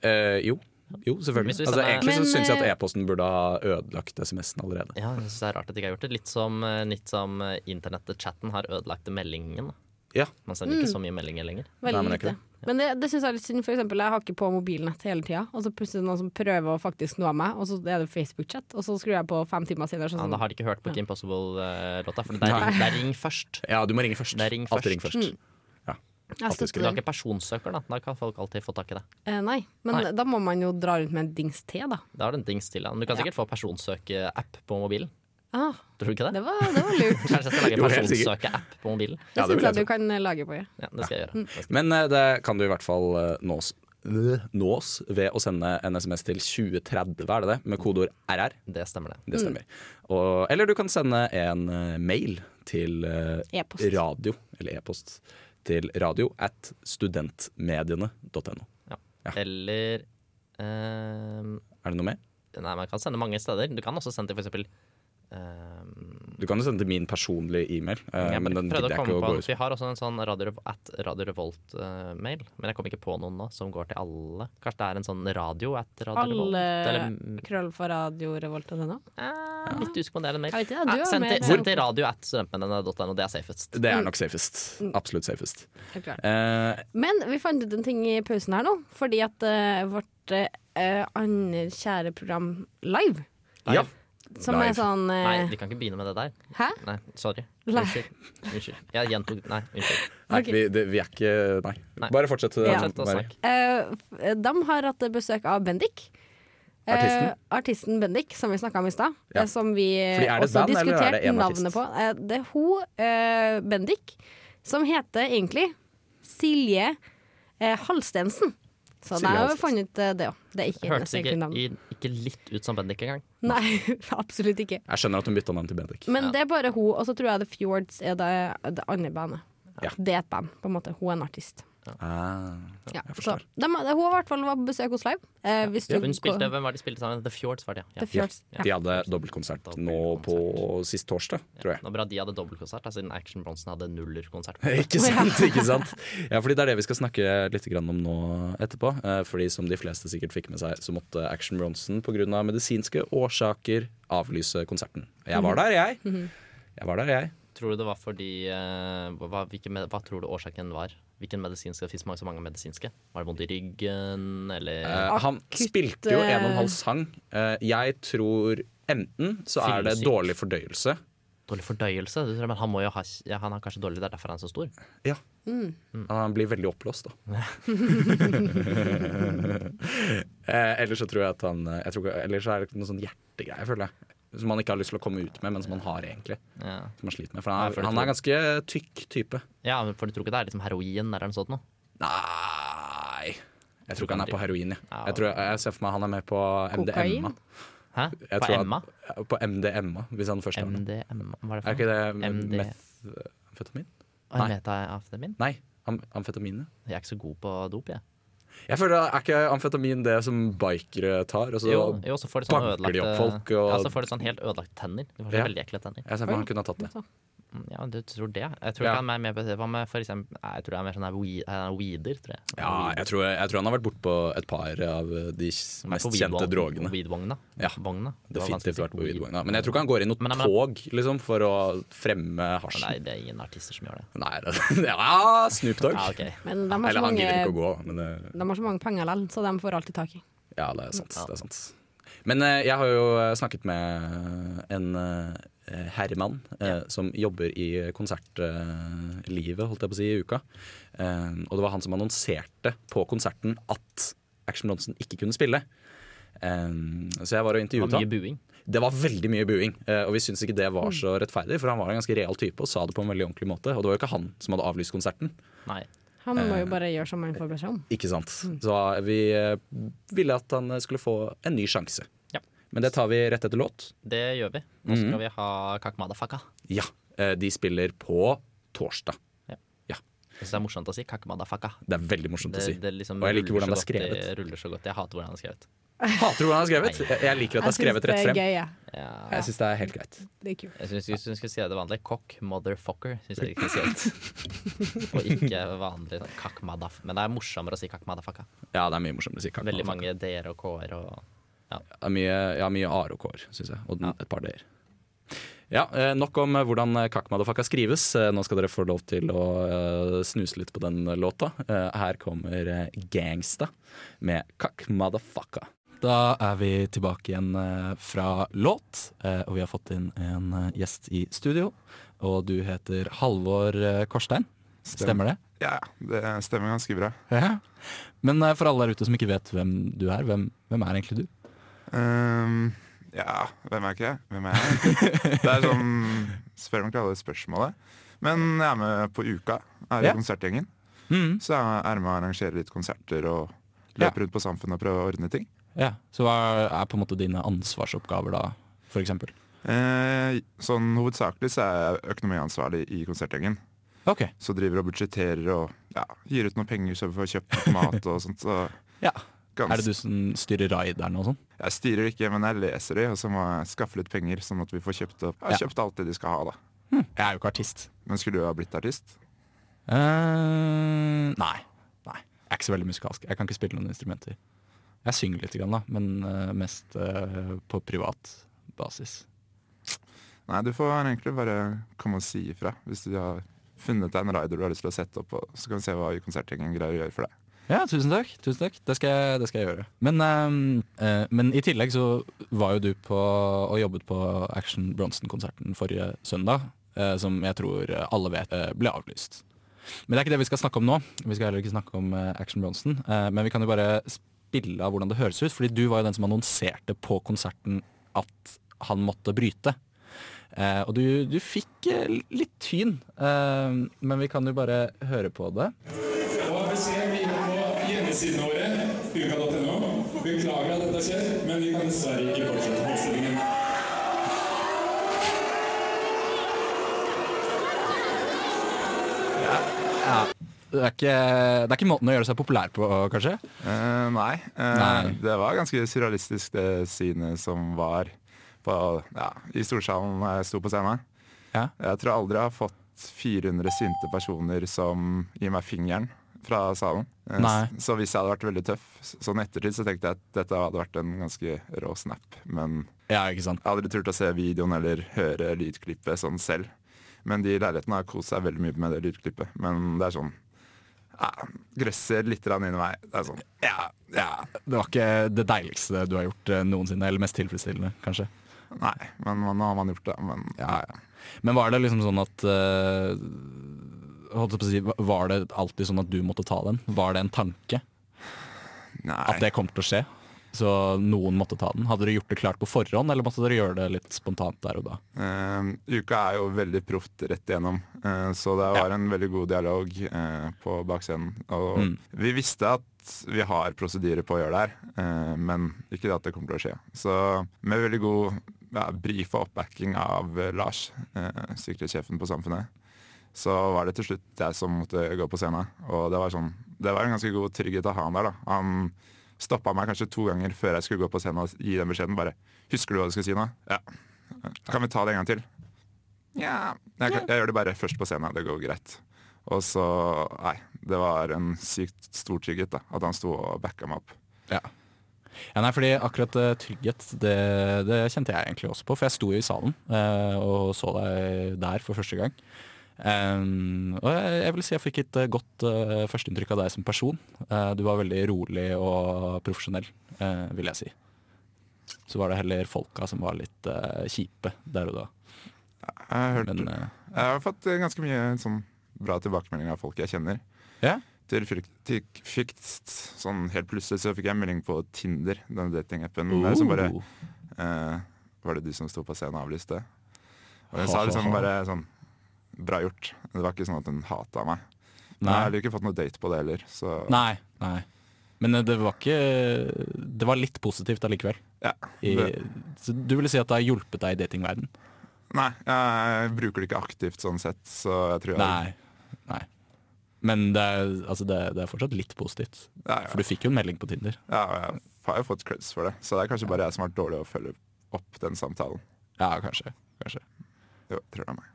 Eh, jo. jo, selvfølgelig. Hvis vi Altså, sender- egentlig så Men, syns jeg at eh, e-posten burde ha ødelagt SMS-en allerede. Ja, jeg synes det er rart at de ikke har gjort det. Litt som, eh, litt som eh, internettet, chatten, har ødelagt meldingen. Ja. Man sender ikke så mye meldinger lenger. Nei, Veldig men det er lite. ikke Men det, det syns jeg er litt synd. For eksempel, jeg har ikke på mobilnett hele tida. Og så plutselig er det noen som prøver å faktisk nå meg, og så er det Facebook-chat. Og så skrur jeg på fem timer senere. Ja, Sånn, da har de ikke hørt på Kim Possible-låta, for det er, det er ring først. Ja, du må ringe først. Det er ring Alltid først. ring først. Ja. jeg alltid Du skulle støtter har den. ikke personsøker, da. Da kan folk alltid få tak i det. Eh, nei, men Nei. da må man jo dra rundt med en dings til, da. Da har du en dings til. da. Men du kan sikkert få personsøke-app på mobilen. Ah, Tror du ikke det? det, var, det var lurt. Kanskje jeg skal lage Jo, en helt sikkert. personsøke-app på mobilen? Det Ja, det syns vil jeg jeg du kan eh, lage på. Ja. Ja, det skal jeg gjøre. Det skal jeg- Men eh, det kan du i hvert fall eh, nås, øh, nås ved å sende en SMS til 2030, er det det? Med kodeord RR. Det stemmer, det. Det stemmer. Mm. Og, eller du kan sende en eh, mail til eh, E-post. radio, eller e-post, til radio at studentmediene.no. Ja. Eller ehm, Er det noe mer? Nei, man kan sende mange steder. Du kan også sende til f.eks. Um, Du kan jo sende til min personlige e-mail, eh, men den gidder jeg ikke å gå ut Vi har også en sånn Radio, Rev- at Radio Revolt-mail, men jeg kom ikke på noen nå som går til alle. Kanskje det er en sånn radio at Radio Revolt? Alle Eller mm, krøll for sånn radiorevolt.no. eh, litt usikker på om det er en mail. Jeg vet ikke, ja, du Eh, er send, mer- sånn- til, send til radio at studentmennene.no, det er safest. Det er nok safest. Mm. Absolutt safest. Helt klart. Eh, Men vi fant ut en ting i pausen her nå, fordi at eh, vårt eh, andre kjære program Live, ja. som Live. er sånn eh, Nei, vi kan ikke begynne med det der. Hæ? Nei, sorry. Nei. Unnskyld. unnskyld. Jeg gjentok Nei, unnskyld. Nei, Ok. vi, det, vi er ikke Nei. Nei. Bare fortsett. eh, Ja. Fortsett å Mari. snakke. Eh, f- de har hatt besøk av Bendik. Eh, Artisten? artisten Bendik, som vi snakka om i stad. Ja. eh, Som vi eh, Fordi er det et også band, eller er diskuterte det en artist? navnet på. Eh, det er hun, eh, Bendik, som heter egentlig Silje eh, Halstensen. Så Silje da har vi Halstensen. funnet ut eh, det òg. Det er ikke hennes Hørtes ikke, egentlige navn. i- ikke litt ut som Bendik engang. Nei, absolutt ikke. Jeg skjønner at hun bytta navn til Bendik. Men Ja. det er bare hun, og så tror jeg The Fjords er det, det andre bandet. Ja. Det er et band, på en måte. Hun er en artist. Ah, Ja, jeg så, forstår. de, hun var i hvert fall var på besøk hos Live. Eh, hvis du Hun går- spilte, Hvem var det de spilte sammen? The Fjords, var det. ja. The Ja. Fjords. Ja. De hadde dobbeltkonsert nå på sist torsdag, tror jeg. Det var bra de hadde dobbeltkonsert, da, siden Action Bronsen hadde nullerkonsert. Ikke sant, ikke sant? Ja, fordi det er det vi skal snakke litt grann om nå etterpå. Eh, Fordi som de fleste sikkert fikk med seg, så måtte Action Bronson pga. medisinske årsaker avlyse konserten. Jeg Mhm. var der, jeg. Jeg var der, jeg. Tror du det var fordi eh, hva, hvilke, med- hva tror du årsaken var? Hvilken medisinske? Det fins mange, så mange medisinske. Var det vondt i ryggen, eller Eh, Han Akutt, spilte jo en og en eh, halv sang. Eh, Jeg tror enten så er det Fyllesyk. dårlig fordøyelse. dårlig fordøyelse? Du tror, Men han, må jo ha, ja, han er kanskje dårlig, det er derfor han er så stor. Ja. Mm. Mm. Han blir veldig oppblåst, da. eh, ellers så tror jeg at han eh, jeg tror, ikke- Ellers så er det noe sånn hjertegreie, føler jeg. Som han ikke har lyst til å komme ut med, men som han har egentlig. Ja. Som han sliter med. For han Ja, er, for det han er ganske tykk type. ja, men For du tror ikke det er liksom heroin eller noe sånt noe? Nei Jeg tror ikke han er på heroin, jeg. Ja, Jeg, tror, jeg ser for meg han er med på MDMA. Kokain? Hæ? Jeg På tror at- Emma? ja, På MDMA, hvis han først er det. MDMA, hva er det Er for ikke noe? det MD. metamfetamin? Ah, Nei. Metaamfetamin? Nei, am amfetamin. ja. Jeg er ikke så god på dop, jeg. Jeg føler, Er ikke amfetamin det som bikere tar? Altså, Og så Jo, jo, så får de sånn banker de ødelagte opp folk, og- Ja, så får de sånn helt ødelagte tenner. De får så Ja. veldig ekle tenner. Jeg ser for meg han kunne ha tatt det. Mm, Ja, du tror det? Jeg tror Ja. ikke han er mer på Hva med for eksempel Nei, Jeg tror han er mer sånn her weed- han er weeder, tror jeg. Ja, jeg tror, jeg tror han har vært bortpå et par av de s- Han er mest på kjente weedvogn- drogene. Weedvogna. Ja, Vogna. Det var Definitivt vanskelig å vært på si. weedvogna. Men jeg tror ikke han går i noe Men- men- tog liksom, for å fremme hasj. Nei, det er ingen artister som gjør det. Nei, det- ja, Snoop Dogg. Ja, Ah, ok. Men de har, Eller så han gidder ikke å mange, gå, men eh, det, de har så mange penger likevel, så de får alltid tak i. ja, det er sant. Det er sant. Men eh, jeg har jo eh, snakket med en eh, herremann eh, som jobber i konsertlivet, holdt jeg på å si, i uka. Eh, og det var han som annonserte på konserten at Action Bronsen ikke kunne spille. Eh, så jeg var og Det intervjuet var mye Mm. ham. buing. Det var veldig mye buing, eh, og vi syntes ikke det var så rettferdig, for han var en ganske real type og sa det på en veldig ordentlig måte. Og det var jo ikke han som hadde avlyst konserten. Nei. Han Eh. må jo bare gjøre som han får beskjed om. Ikke sant. Mm. Så vi eh, ville at han eh, skulle få en ny sjanse. Ja. Men det tar vi rett etter låt. Det gjør vi. Nå Mm. skal vi ha Kak Madafaka. Ja. eh, De spiller på torsdag. Ja. Ja. Jeg synes det er morsomt å si Kak Madafaka. Det er veldig morsomt å Det, si. det liksom Og jeg liker ruller hvordan det er så godt. skrevet. Det ruller så godt. Jeg hater hvordan det er skrevet. Hater du hvordan det er skrevet? Jeg- Jeg liker at det er synes skrevet rett frem. Det er gøy, ja. Ja. Jeg syns det er helt greit. Det er kult. Jeg syns jeg synes vi skulle si det vanlig. Kokk, motherfucker, syns jeg vi kunne si det. Og ikke vanlig sånn kakk madaf. Men det er morsommere å si kakk madafaka. Ja, det er mye morsommere å si. Kaka. Veldig mange d-er og k-er og Det er mye, ja, mye ar og kår, syns jeg. Og et par d-er. Ja, eh, nok om eh, hvordan eh, Kak Madafaka skrives. Eh, Nå skal dere få lov til å eh, snuse litt på den låta. Eh, Her kommer eh, Gangsta med Kak Madafaka. Da er vi tilbake igjen eh, fra låt, eh, og vi har fått inn en eh, gjest i studio. Og du heter Halvor eh, Korstein, stemmer det? Ja, ja, det stemmer ganske bra. Ja. Men eh, for alle der ute som ikke vet hvem du er, hvem, hvem er egentlig du? Ehm, ja, hvem er ikke jeg? Hvem er jeg? Det er sånn Spør meg ikke alle spørsmålet. Men jeg er med på Uka, er i Ja. konsertgjengen. Så jeg er med og arrangerer litt konserter og Ja. løper rundt på Samfunnet og prøver å ordne ting. Ja, Så hva er på en måte dine ansvarsoppgaver da, for eksempel? Eh, sånn hovedsakelig så er jeg økonomiansvarlig i konsertgjengen. Ok, Så driver og budsjetterer og ja, gir ut noen penger så vi får kjøpt litt mat og sånt. Så ja. gans- Er det du som styrer raideren og sånn? Jeg styrer ikke, men jeg leser det, og så må jeg skaffe litt penger sånn at vi får kjøpt, opp. Jeg har Ja. kjøpt alt det de skal ha. da. Jeg er jo ikke artist. Men skulle du ha blitt artist? eh nei. nei. Jeg er ikke så veldig musikalsk. Jeg kan ikke spille noen instrumenter. Jeg synger litt, grann, da, men eh, mest eh, på privat basis. Nei, du får egentlig bare komme og si ifra hvis du har funnet deg en rider du har lyst til å sette opp, og så kan vi se hva konsertgjengen greier å gjøre for deg. Ja, tusen takk. Tusen takk. Det, skal jeg, det skal jeg gjøre. Men, eh, eh, men i tillegg så var jo du på og jobbet på Action Bronson-konserten forrige søndag, eh, som jeg tror alle vet eh, ble avlyst. Men det er ikke det vi skal snakke om nå. Vi skal heller ikke snakke om eh, Action Bronson. eh, men vi kan jo bare spille av hvordan det høres ut, fordi du var jo den som annonserte på konserten at han måtte bryte. Eh, og du, du fikk eh, litt tyn, eh, men vi kan jo bare høre på det. Og beskjed vi går på hjemmesidene våre, uka.no. Beklager at dette har skjedd, men vi kan dessverre ikke fortsette forestillingen. det er, ikke, det er ikke måten å gjøre seg populær på, kanskje? Eh, nei. Eh, Nei. Det var ganske surrealistisk, det synet som var på, ja, i storsalen da jeg sto på scenen. Ja. Jeg tror aldri jeg har fått 400 sinte personer som gir meg fingeren fra salen. Eh, Nei. s- Så hvis jeg hadde vært veldig tøff, s- sånn ettertid, så tenkte jeg at dette hadde vært en ganske rå snap. Men Ja, ikke sant? jeg har aldri turt å se videoen eller høre lydklippet sånn selv. Men de i leiligheten har kost seg veldig mye med det lydklippet. Men det er sånn ja, Grøsser litt grann inni meg. Det er sånn Ja, ja. Det var ikke det deiligste du har gjort eh, noensinne, eller mest tilfredsstillende, kanskje. Nei, men nå har man gjort det. Men ja, ja. Men var det liksom sånn at eh, holdt jeg på å si, Var det alltid sånn at du måtte ta den? Var det en tanke Nei. at det kom til å skje? Så noen måtte ta den? Hadde dere gjort det klart på forhånd, eller måtte dere gjøre det litt spontant der og da? Eh, uka er jo veldig proft rett igjennom, eh, så det var en veldig god dialog eh, på bakscenen. Og Mm. vi visste at vi har prosedyrer på å gjøre det her, eh, men ikke at det kommer til å skje. Så med veldig god ja, brief og oppbacking av eh, Lars, eh, sikkerhetssjefen på Samfunnet, så var det til slutt jeg som måtte gå på scenen. Og det var, sånn, det var en ganske god trygghet å ha han der. da. Han stoppa meg kanskje to ganger før jeg skulle gå på scenen og gi den beskjeden. Bare 'Husker du hva du skal si nå?' Ja. Kan vi ta det en gang til? Ja. Jeg, kan- jeg gjør det bare først på scenen. Det går greit. Og så Nei. Det var en sykt stor trygghet da, at han sto og backa meg opp. Ja. ja nei, fordi akkurat eh, trygghet, det, det kjente jeg egentlig også på. For jeg sto jo i salen eh, og så deg der for første gang. Em, og jeg, jeg vil si jeg fikk et eh, godt eh, førsteinntrykk av deg som person. Eh, du var veldig rolig og profesjonell, eh, vil jeg si. Så var det heller folka som var litt eh, kjipe der og da. Jeg har, hørt, Men eh, jeg har fått eh, ganske mye sånn bra tilbakemeldinger av folk jeg kjenner. ja. Til frykt, til frykt, sånn Helt plutselig så fikk jeg en melding på Tinder, den datingappen. Uh, der som bare Oh. eh, Var det du som sto på scenen og avlyste? Og hun Ha, sa ha, liksom ha. bare sånn Bra gjort. Det var ikke sånn at hun hata meg. Men jeg nei, har ikke fått noe date på det heller. Så nei, nei. Men eh, det var ikke Det var litt positivt allikevel. Ja, I, det, så du ville si at det har hjulpet deg i datingverden? nei, jeg bruker det ikke aktivt sånn sett, så jeg tror jeg Nei. Nei. Men det er, altså det, er- det er fortsatt litt positivt. Ja, ja. For du fikk jo en melding på Tinder. Ja, jeg har jo fått creds for det, så det er kanskje bare jeg som har vært dårlig å følge opp den samtalen. Ja, kanskje. kanskje. Jo, jeg tror det er meg.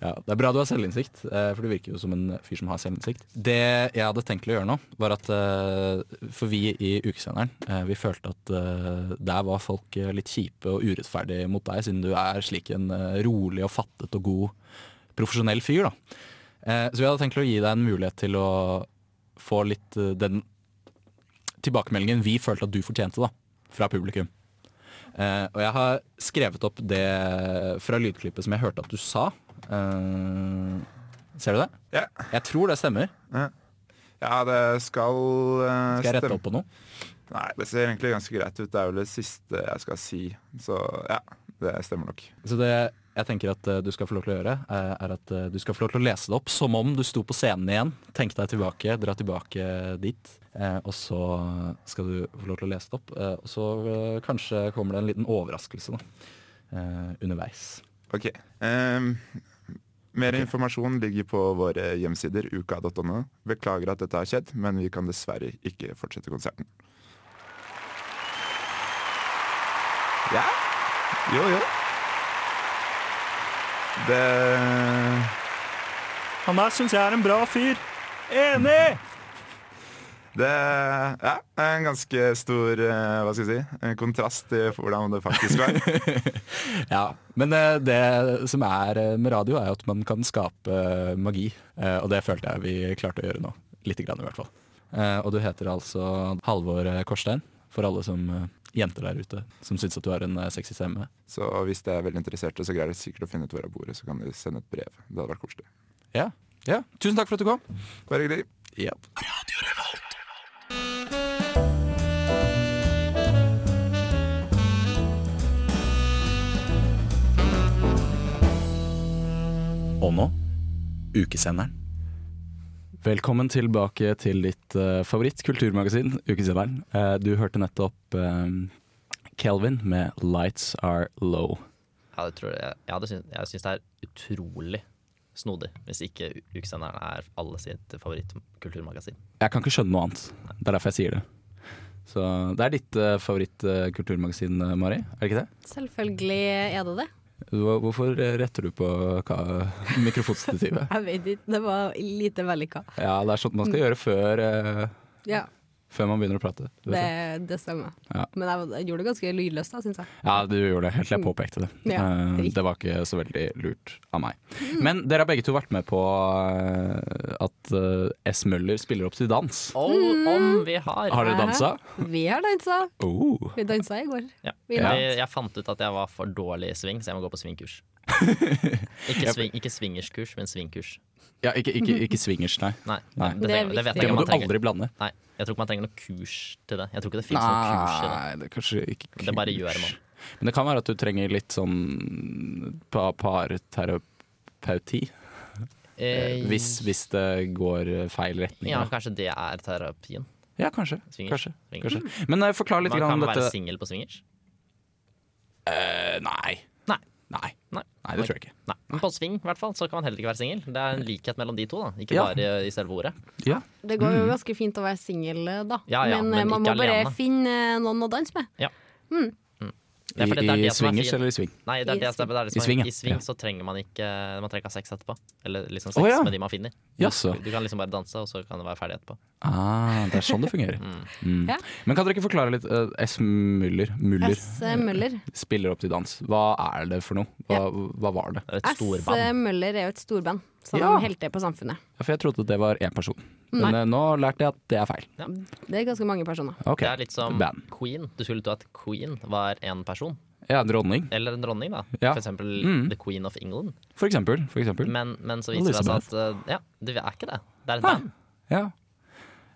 Ja, det er bra du har selvinnsikt, eh, for du virker jo som en fyr som har selvinnsikt. Det jeg hadde tenkt til å gjøre nå, var at eh, for vi i Ukesenderen, eh, vi følte at eh, der var folk eh, litt kjipe og urettferdige mot deg, siden du er slik en eh, rolig og fattet og god profesjonell fyr, da. Eh, Så vi hadde tenkt til å gi deg en mulighet til å få litt eh, den tilbakemeldingen vi følte at du fortjente da, fra publikum. Eh, og jeg har skrevet opp det fra lydklippet som jeg hørte at du sa. Eh, ser du det? Ja, Jeg tror det stemmer. ja det skal eh, Skal jeg rette stemme. opp på noe? Nei, det ser egentlig ganske greit ut. Det er vel det siste jeg skal si, så ja, det stemmer nok. Så det jeg tenker at eh, du skal få lov til å gjøre, eh, er at eh, du skal få lov til å lese det opp som om du sto på scenen igjen. Tenk deg tilbake, dra tilbake dit. eh, Og så skal du få lov til å lese det opp. eh, Og så eh, kanskje kommer det en liten overraskelse da, eh, underveis. Ok. ehm, mer informasjon ligger på våre hjemmesider, uka.no. Beklager at dette har skjedd, men vi kan dessverre ikke fortsette konserten. Ja. Jo, jo. Det Han der syns jeg er en bra fyr. Enig! Det ja, er en ganske stor eh, hva skal jeg si, en kontrast til hvordan det faktisk var. Ja, Men eh, det som er eh, med radio, er jo at man kan skape eh, magi. Eh, Og det følte jeg vi klarte å gjøre nå. Lite grann, i hvert fall. Eh, Og du heter altså Halvor eh, Korstein, for alle som eh, jenter der ute som syns at du har en eh, sexy stemme. Så hvis det er veldig interesserte, så greier de sikkert å finne ut hvor jeg bor. og Så kan de sende et brev. Det hadde vært koselig. Ja. ja. Tusen takk for at du kom. Bare hyggelig. Og nå Ukesenderen. Velkommen tilbake til ditt eh, favoritt-kulturmagasin, Ukesenderen. Eh, du hørte nettopp eh, Kelvin med 'Lights Are Low'. Ja, det tror jeg, jeg, hadde syns- jeg syns det er utrolig snodig hvis ikke Ukesenderen er alle sitt favorittkulturmagasin. Jeg kan ikke skjønne noe annet. Det er derfor jeg sier det. Så det er ditt uh, favorittkulturmagasin, eh, Mari? Er det ikke det? Selvfølgelig er det det. Hva- Hvorfor eh, retter du på ka- mikrofonstativet? Jeg vet ikke, det var lite vellykka. Ja, det er sånt man Mm. skal gjøre før, eh, Ja, før man begynner å prate. Du vet det, det stemmer. Ja. Men jeg, jeg gjorde det ganske lydløst, da, syns jeg. Ja, du gjorde det helt til jeg Mm. påpekte det. Ja, Eh, riktig. det var ikke så veldig lurt av meg. Mm. Men dere har begge to vært med på eh, at eh, S. Møller spiller opp til dans. Og om vi har! Har dere dansa? Vi har dansa. Oh. Vi dansa i går. Ja. Vi Ja. Jeg, jeg fant ut at jeg var for dårlig i sving, så jeg må gå på svingkurs. Ikke, sving, ikke swingerskurs, men svingkurs. Ja, ikke, ikke, ikke swingers, nei. Nei, Nei. Det, trenger, Det er det vet viktig. jeg Det ikke om må man du trenger. aldri blande. Nei, jeg tror ikke man trenger noe kurs til det. Jeg tror ikke det finnes noe kurs til det. det er kanskje ikke kurs. Det bare gjør man. Men det kan være at du trenger litt sånn pa- parterapeuti. eh, Eh, Hvis, hvis det går eh, feil retning. Ja, da. kanskje det er terapien. ja kanskje. Swingers. kanskje, Swingers. kanskje. Men eh, forklar litt Mm. Man grann om kan være dette. singel på swingers. Eh, nei. Nei. Nei. Nei. Nei, det tror jeg ikke. Nei. Men på sving i hvert fall, så kan man heller ikke være singel. Det er en likhet mellom de to, da. ikke Ja. bare i selve ordet. Ja. Det går jo ganske fint å være singel, da. Ja, ja, men, men eh, man må ikke bare alene. finne noen å danse med. Mm. Det er fordi det er I, i det som er swingers fint. eller i swing? Nei, det er Mm. I det, som- det er det som I swing, ja. er, I swing Ja. så trenger man ikke Man trenger ikke ha sex etterpå. Eller liksom sex Å, ja. med de man finner. Jaså. Du kan liksom bare danse, og så kan det være ferdig etterpå. Ah, det er sånn det fungerer. Mm. Ja. Men kan dere ikke forklare litt? eh, S. Müller, Müller S. Møller. spiller opp til dans. Hva er det for noe? Hva, hva var det? Det er et S. storband. Møller er jo et storband som Ja. helter på samfunnet. Ja, For jeg trodde det var én person. Men eh, nå lærte jeg at det er feil. Det er ganske mange personer. Ok, Det er litt som Band. Queen. Du skulle tro at Queen var en person, Ja, dronning, eller en dronning, da. Ja. Mm. For eksempel The Queen of England. for eksempel. For eksempel. Men, men så viser det seg at eh, ja, det er ikke det. Det Ah, er et band. Ja.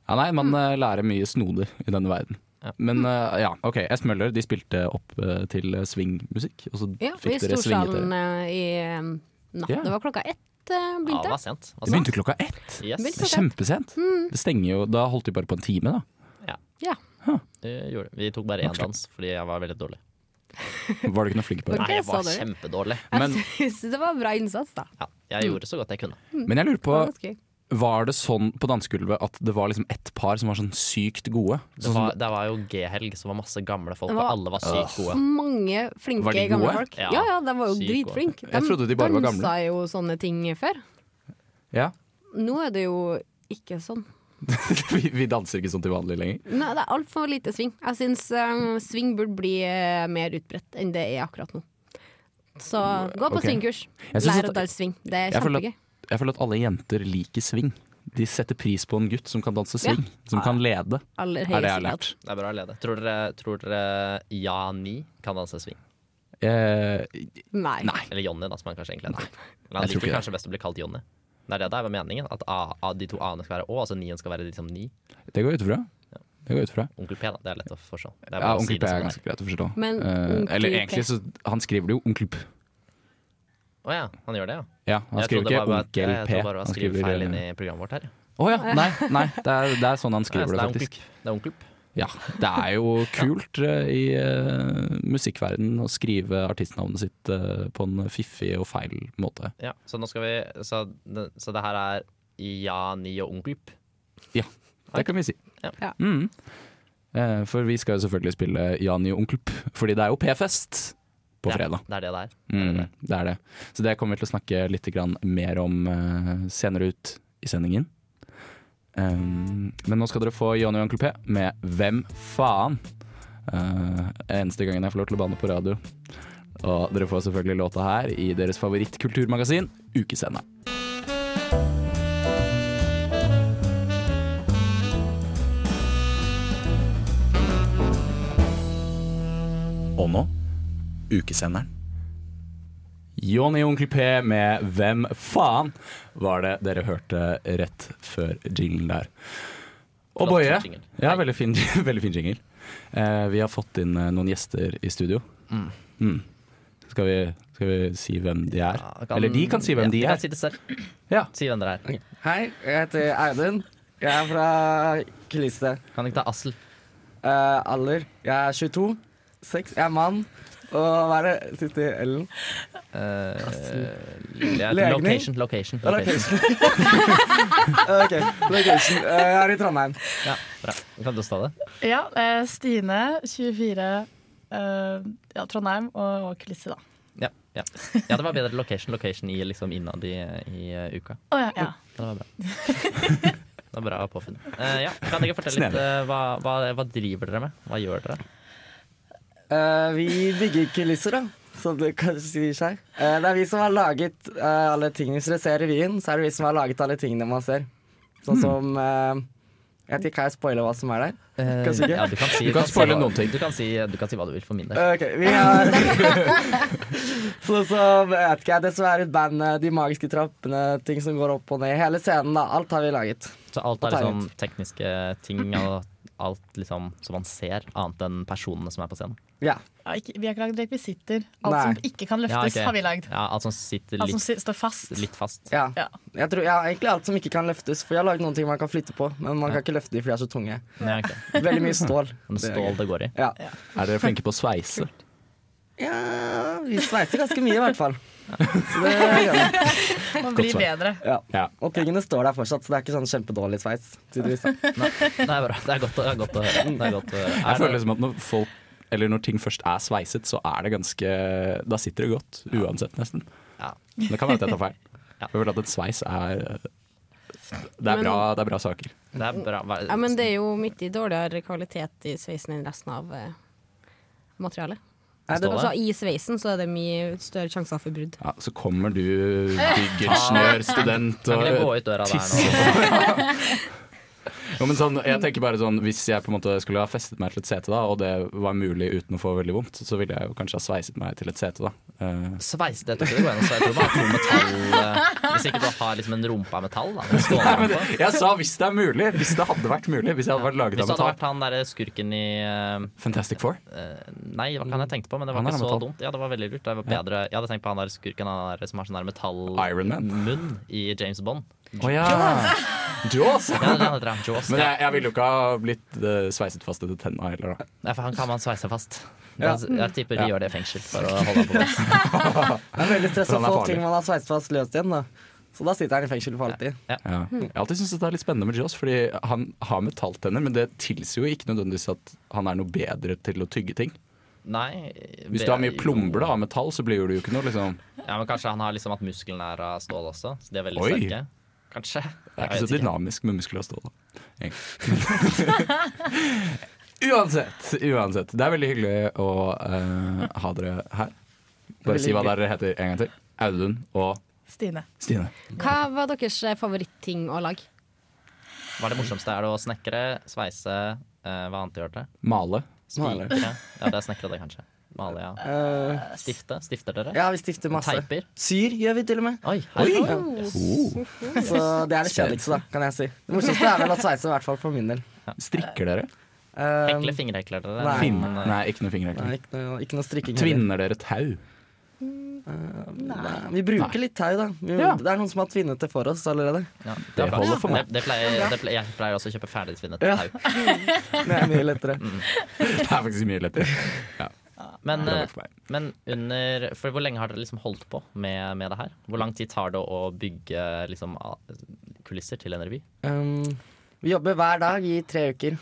ja, nei, man eh, lærer mye snodig i denne verden. Ja. Men eh, ja, ok, S. Møller de spilte opp eh, til eh, swingmusikk, og så Ja, I fikk dere swinget Storsalen dere. eh, i eh, natt. Ja. Det var klokka ett eh, Ja, det begynte. var sent. Det var Det sent. begynte klokka ett! Yes. Det er kjempesent. Det stenger jo Da holdt de bare på en time, da. Ja. Det Eh, gjorde det. Vi tok bare én Nok slik. dans fordi jeg var veldig dårlig. Var du ikke noe flink på det? Nei, jeg sa var dere. kjempedårlig. Men- Jeg synes det var bra innsats, da. Ja, Mm. jeg gjorde så godt jeg kunne. Men jeg lurer Det på, var ganske gøy. var det sånn på dansegulvet at det var liksom ett par som var sånn sykt gode? Det Sånn som- var, det var jo G-helg, så det var masse gamle folk, Det og var- alle var sykt gode. Mange flinke Var de gamle gode? folk. Ja. Ja, ja, de var jo Sykt gode. dritflinke. Jeg trodde de bare var gamle. dansa jo sånne ting før. ja. Nå er det jo ikke sånn. vi, vi danser ikke sånn til vanlig lenger. Nei, det er altfor lite sving. Jeg syns um, sving burde bli eh, mer utbredt enn det er akkurat nå. Så gå på ok. svingkurs. Jeg synes Lær at- å danse sving. Det er Jeg føler at- kjempegøy. Jeg føler at alle jenter liker swing. De setter pris på en gutt som kan danse swing, som kan lede. Aller Er det jeg høyeste har lært. Det er bra å lede. Tror dere, tror dere Jani kan danse swing? Eh, grad. Nei. Eller Jonny, da, som han kanskje egentlig heter. Men han jeg tror liker ikke kanskje best å bli kalt Jonny. Det er det der var meningen. At A, A, de to A-ene skal være Å, altså nien skal være liksom ni. det går jeg ut ifra. Det går jeg ut ifra. Onkel P, da. Det er lett å forstå. Det er Ja, bare å si onkel det P som er det ganske greit å forstå. Men Eh, onkel eller P. egentlig så Han skriver det jo onkel P. Å ja, han gjør det, ja. Ja, han Jeg skriver trodde ikke bare at- onkel Jeg P. trodde bare Han han skriver skriver feil inn eh, i programmet vårt her. ja. Å ja, nei, nei det, er, det er sånn han Ja, skriver så det, det er faktisk. onkel- det er onkel P. Ja, det er jo kult eh, i uh, musikkverdenen å skrive artistnavnet sitt eh, på en fiffig og feil måte. Ja, så nå skal vi Så, det- så det her er Jani og onkel P. Ja, det kan vi si. Ja. Ja. Mm. Eh, for vi skal jo selvfølgelig spille Jani og Onkel P, fordi det er jo P-fest på Det er- fredag. Det er det det er. Mm, det er det. Så det kommer vi til å snakke litt grann mer om eh, senere ut i sendingen. Um, men nå skal dere få Jani og Onkel P med Hvem faen? Eh, eneste gangen jeg får lov til å banne på radio. Og dere får selvfølgelig låta her i deres favorittkulturmagasin, Ukesenderen. Og nå ukesenderen. Johnny og Onkel P med 'Hvem faen?' var det dere hørte rett før jinglen der. Og Flott Boje. jingle. Ja, veldig fin, veldig fin jingle. Eh, vi har fått inn eh, noen gjester i studio. Mm. Skal, vi, skal vi si hvem de er? Ja, kan- Eller de kan si hvem ja, de kan er. Si det selv. Ja. Si hvem dere er. Hei, jeg heter Audun. Jeg er fra Kulisse. Kan du ikke ta Assel? Eh, alder? Jeg er 22. Seks. Jeg er mann. Og hva er det siste L-en? Ja, Legning? Eh, location, location. Ja, location. Location. Eh, ok, location. Eh, Jeg er i Trondheim. Ja, bra. Kan du ta det? Ja, eh, Stine, 24, eh, ja, Trondheim og, og kulisse, da. Ja, ja. ja, det var bedre location, location i, liksom, innad i, i eh, uka. Å ja, ja. Ja, Det var bra. Det var bra påfunn. Eh, ja. Kan dere fortelle litt eh, hva, hva, hva driver dere med? Hva gjør dere? Eh, vi digger kulisser, da. Som det kanskje sier seg. Eh, det er vi som har laget eh, alle tingene. Hvis dere ser revyen, så er det vi som har laget alle tingene man ser. Sånn som eh, Jeg vet ikke, kan jeg spoile hva som er der? Eh, Kanskje ikke? Ja, du kan, si, Du kan spoile si hva- noen ting. Du kan, si, du kan si hva du vil for min del. Eh, Ok, vi har Sånn som, jeg vet ikke, jeg, det som er et band, eh, de magiske trappene, ting som går opp og ned. Hele scenen, da. Alt har vi laget. Så alt er og tegnet. liksom tekniske ting og alt liksom som man ser, annet enn personene som er på scenen. Ja. ja ikke, vi har ikke lagd rekvisitter. Alt Nei. som ikke kan Ja, løftes, ok. har vi lagd. Ja, alt som sitter Alt som litt, si- står fast. litt fast. ja. Ja. Jeg tror, ja, egentlig alt som ikke kan løftes. For jeg har laget noen ting man kan flytte på, men man kan ikke løfte de for de er så tunge. Ja, ok. Veldig mye stål. Men Det er Stål gøy. det går i. Ja. Er dere flinke på å sveise? ja, vi sveiser ganske mye i hvert fall. Så det gjør vi. Man blir svar. bedre. Ja. Ja. Og tingene står der fortsatt, så det er ikke sånn kjempedårlig sveis. tydeligvis. Nei, bra. Det er godt, å- det er godt å høre. Det er godt å høre. Jeg Er føler det, liksom at når folk eller når ting først er sveiset, så er det ganske Da sitter det godt, uansett, nesten. ja. Men Det kan være at jeg tar feil. Ja. Jeg føler at et sveis er Det er Men- bra, det er bra saker. det er bra. Hva- Ja, men det er jo midt i dårligere kvalitet i sveisen enn resten av eh, materialet. Nei, det, Stål, Altså I sveisen så er det mye større sjanser for brudd. Ja, så kommer du byggingeniør, student Kan ikke dere gå og ut døra der nå? jo, men sånn, Jeg tenker bare sånn Hvis jeg på en måte skulle ha festet meg til et sete, da, og det var mulig uten å få veldig vondt, så ville jeg jo kanskje ha sveiset meg til et sete, da. Eh, Sveis det, tror jeg det går an å si. Jeg tror bare to metall eh, Hvis ikke du har liksom en rumpe av metall. Da, en stålrumpe. jeg sa hvis det er mulig! Hvis det hadde vært mulig. Hvis jeg hadde vært laget Hvis av det hadde vært metall. han derre skurken i eh, Fantastic Four. Eh, Nei, det var ikke han jeg tenkte på, men det var Han ikke er så metall. dumt. Ja, det var veldig lurt. Det var bedre. Jeg hadde tenkt på han der skurken han der, som har sånn der Iron Man. metallmunn i James Bond. Å ja! Jaws! Ja, det er han heter, han, Jaws. Men Ja. jeg, jeg ville jo ikke ha blitt eh, sveiset fast etter tenna heller, da. Ja, for han kan man sveise fast. Ja. Da- Jeg tipper de gjør det i fengsel for å holde han på plass. det er veldig stress å Den er få farlig. ting man har sveist fast løst igjen. da. Så da sitter han i fengsel for alltid. Ja. Jeg har alltid syntes det er litt spennende med Jaws, fordi han har metalltenner, men det tilsier jo ikke nødvendigvis at han er noe bedre til å tygge ting. Nei Hvis du har mye plomber da, av metall, så blir du jo ikke noe liksom Ja, men Kanskje han har liksom at musklene er av stål også, så de er veldig Oi. sterke. Kanskje. Det er Jeg ikke så vet dynamisk med muskler og stål, da. egentlig. uansett, uansett. Det er veldig hyggelig å eh, ha dere her. Bare Veldig si hva dere heter en gang til. Audun og Stine. Stine. Hva var deres eh, favoritting å lage? Hva er det morsomste? Er det å snekre, sveise, eh, hva annet gjør dere? Male. Male. Spikre? Ja, det er snekre, det, kanskje. Male, ja. Eh, Stifte? Stifter dere? ja, vi stifter masse. Um, Teiper? Syr gjør vi til og med. Oi! herregud. Så Altså, det er det kjedeligste, da, kan jeg si. Det morsomste er vel å sveise, i hvert fall for min del. Strikker dere? Eh, Hekle fingerhekler dere? Nei. Finn. Men, eh, Nei, ikke noe nei, fingerhekling. ikke, noe, ikke noe strikking. heller. Tvinner dere tau? Nei, Vi bruker litt tau, da. Vi, Ja. Det er noen som har tvinnet det for oss allerede. ja, Det bra. holder for meg. Det, det pleier, det pleier, jeg pleier også å kjøpe ferdigtvinnet Ja. tau. Det er mye lettere. Det er faktisk mye lettere. Men, Det eh, holder for meg. men under For hvor lenge har dere liksom holdt på med, med det her? Hvor lang tid tar det å bygge liksom, a- kulisser til en revy? Um, vi jobber hver dag i tre uker.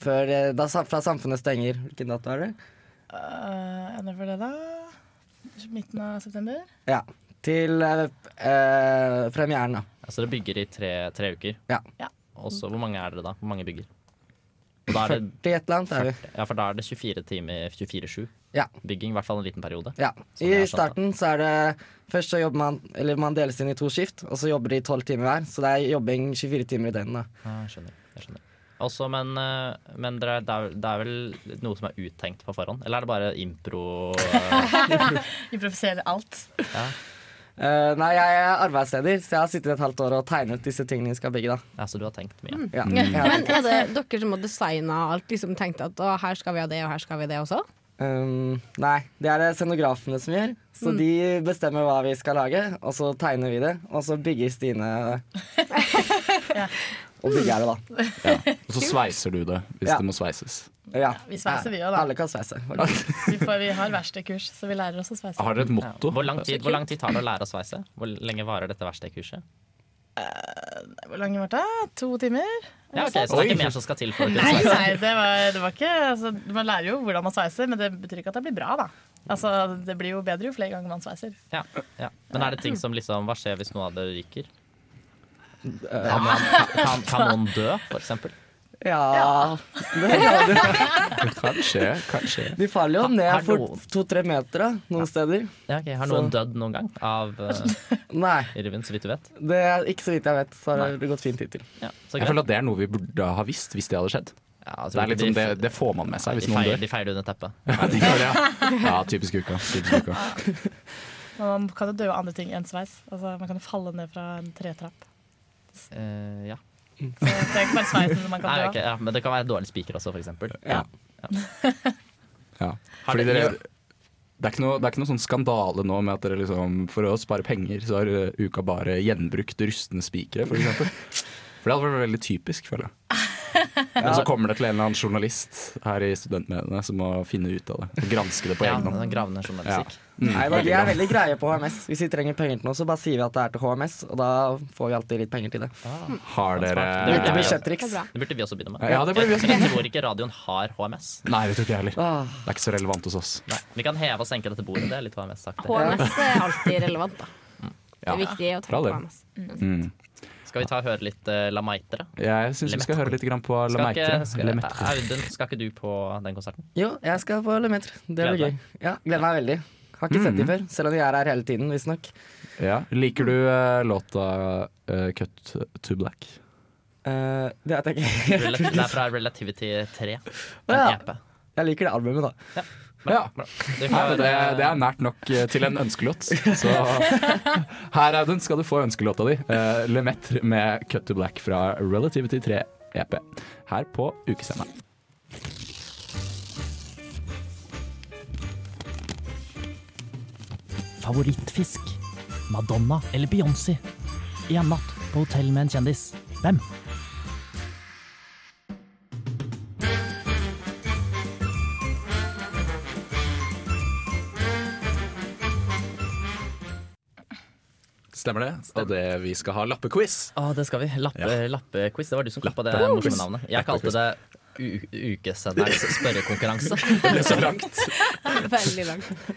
Før, eh, da, sa- fra samfunnet stenger. Hvilken dato er det? Eh, enda for det, da. Midten av september. Ja. Til eh, eh, premieren, da. Altså dere bygger i tre, tre uker. Ja. Ja. Og så hvor mange er dere da? Hvor mange bygger? Og da er det, 40 et eller annet er vi. ja, for da er det 24 timer 24-7 Ja. bygging. I hvert fall en liten periode. ja. Sånn jeg I har skjønt starten så er det Først så jobber man Eller man deles inn i to skift, og så jobber de tolv timer hver. Så det er jobbing 24 timer i døgnet, da. Ja, jeg skjønner. Jeg skjønner. Også, men eh, men dere, det, er, det er vel noe som er uttenkt på forhånd? Eller er det bare impro? eh, Improviserer alt. Eh, nei, jeg er arbeidsleder, så jeg har sittet et halvt år og tegnet disse tingene vi skal bygge, da. altså, du har tenkt mye? Ja. Men er det dere som har designa alt? Liksom tenkt at å, her skal vi ha det, og her skal vi ha det også? Um, nei, det er det scenografene som gjør. Så Mm. de bestemmer hva vi skal lage, og så tegner vi det, og så bygger Stine det. Og billigere, da. Ja. Og så sveiser du det, hvis Ja. det må sveises. Ja. Vi sveiser, vi òg, da. Alle kan sveise. faktisk. Vi, får, vi har verkstedkurs, så vi lærer oss å sveise. Har dere et Ja. motto? Hvor, lang tid, hvor lang tid tar det å lære å sveise? Hvor lenge varer dette verkstedkurset? Hvor lange var det? To timer? Ja, ok, så det er ikke mer som skal til for å kunne Nei, sveise. nei det, var, det var ikke altså, Man lærer jo hvordan man sveiser, men det betyr ikke at det blir bra, da. Altså, Det blir jo bedre jo flere ganger man sveiser. Ja, ja. Men er det ting som liksom Hva skjer hvis noen av dere ryker? Eh, Kan, man, kan- kan, kan noen dø, for eksempel? ja. Det kan du. Kanskje, kanskje. De faller jo ned Hallo. for to-tre meter da, noen steder. Ja, ok, Har Så- noen dødd noen gang av uh, Nei, Irvin, så vidt du vet? det er ikke så vidt jeg vet, så har det gått fint hittil. Ja, så Jeg greit. føler at det er noe vi burde ha visst hvis det hadde skjedd. Ja, jeg Det, tror er ikke litt sånn, det, de- det får man med seg hvis de noen feier, dør. de feier det under teppet. Ja, de gjør det, ja. ja typisk uka. Typisk uka. Men man kan jo dø av andre ting enn sveis. Altså, Man kan jo falle ned fra en tretrapp. Eh, ja. Så det er ikke bare sveisen man kan Nei, dø av. ok, ja. Men det kan være dårlig spiker også, for eksempel. Ja. Ja. Har Fordi dere- dere, det, er ikke noe, det er ikke noe sånn skandale nå med at dere liksom, for å spare penger, så har eh, uka bare gjenbrukt rustne spikere, for eksempel. For det hadde vært veldig typisk, føler jeg. Men så kommer det til en eller annen journalist her i studentmediene som må finne ut av det. Og granske det på Ja, egen hånd. den gravende journalistikk. Mm, Nei, da, Vi er bra. veldig greie på HMS. Hvis vi trenger penger til noe, så bare sier vi at det er til HMS, og da får vi alltid litt penger til det. Ah. Har dere Det Litt burde vi- budsjettriks. bra. Det burde vi også begynne med. Ja, det burde vi også jeg, jeg tror ikke radioen har HMS. Nei, det tror ikke jeg heller. Ah, Det er ikke så relevant hos oss. Nei, vi kan heve og senke dette bordet. Det er litt HMS-aktig. HMS er alltid relevant, da. Det Ja. er viktig å ta Bra, det. på HMS. Mm. Skal vi ta og høre litt eh, La Maitre? Jeg syns vi skal høre litt grann på Skal ikke, Lemaitre. skal, Audun, skal ikke du på den konserten? jo, jeg skal på Lemeter. Det Gleder blir gøy. Ja, Gleder meg veldig. Har Mm. ikke sett dem før, selv om de er her hele tiden, visstnok. Ja. Liker du eh, låta eh, 'Cut to Black'? Uh, det vet jeg ikke. Relat- Det er fra Relativity 3. En Ja. EP. Jeg liker det albumet, da. Ja. Vi Nei, får, det, det eh, er nært nok eh, til en ønskelåt. Så her, Audun, skal du få ønskelåta di. Uh, Lemaitre med 'Cut to Black' fra Relativity 3 EP. Her på ukesenderen. Favorittfisk? Madonna eller Beyoncé? En natt på hotell med en kjendis. Hvem? Stemmer det? Og det vi skal ha lappequiz. Å, det skal vi. Lappe, Lappequiz. Det var du som kom på det Lappequiz. morsomme navnet. Jeg kalte det u- ukesenderens spørrekonkurranse. Det er så langt. Veldig langt.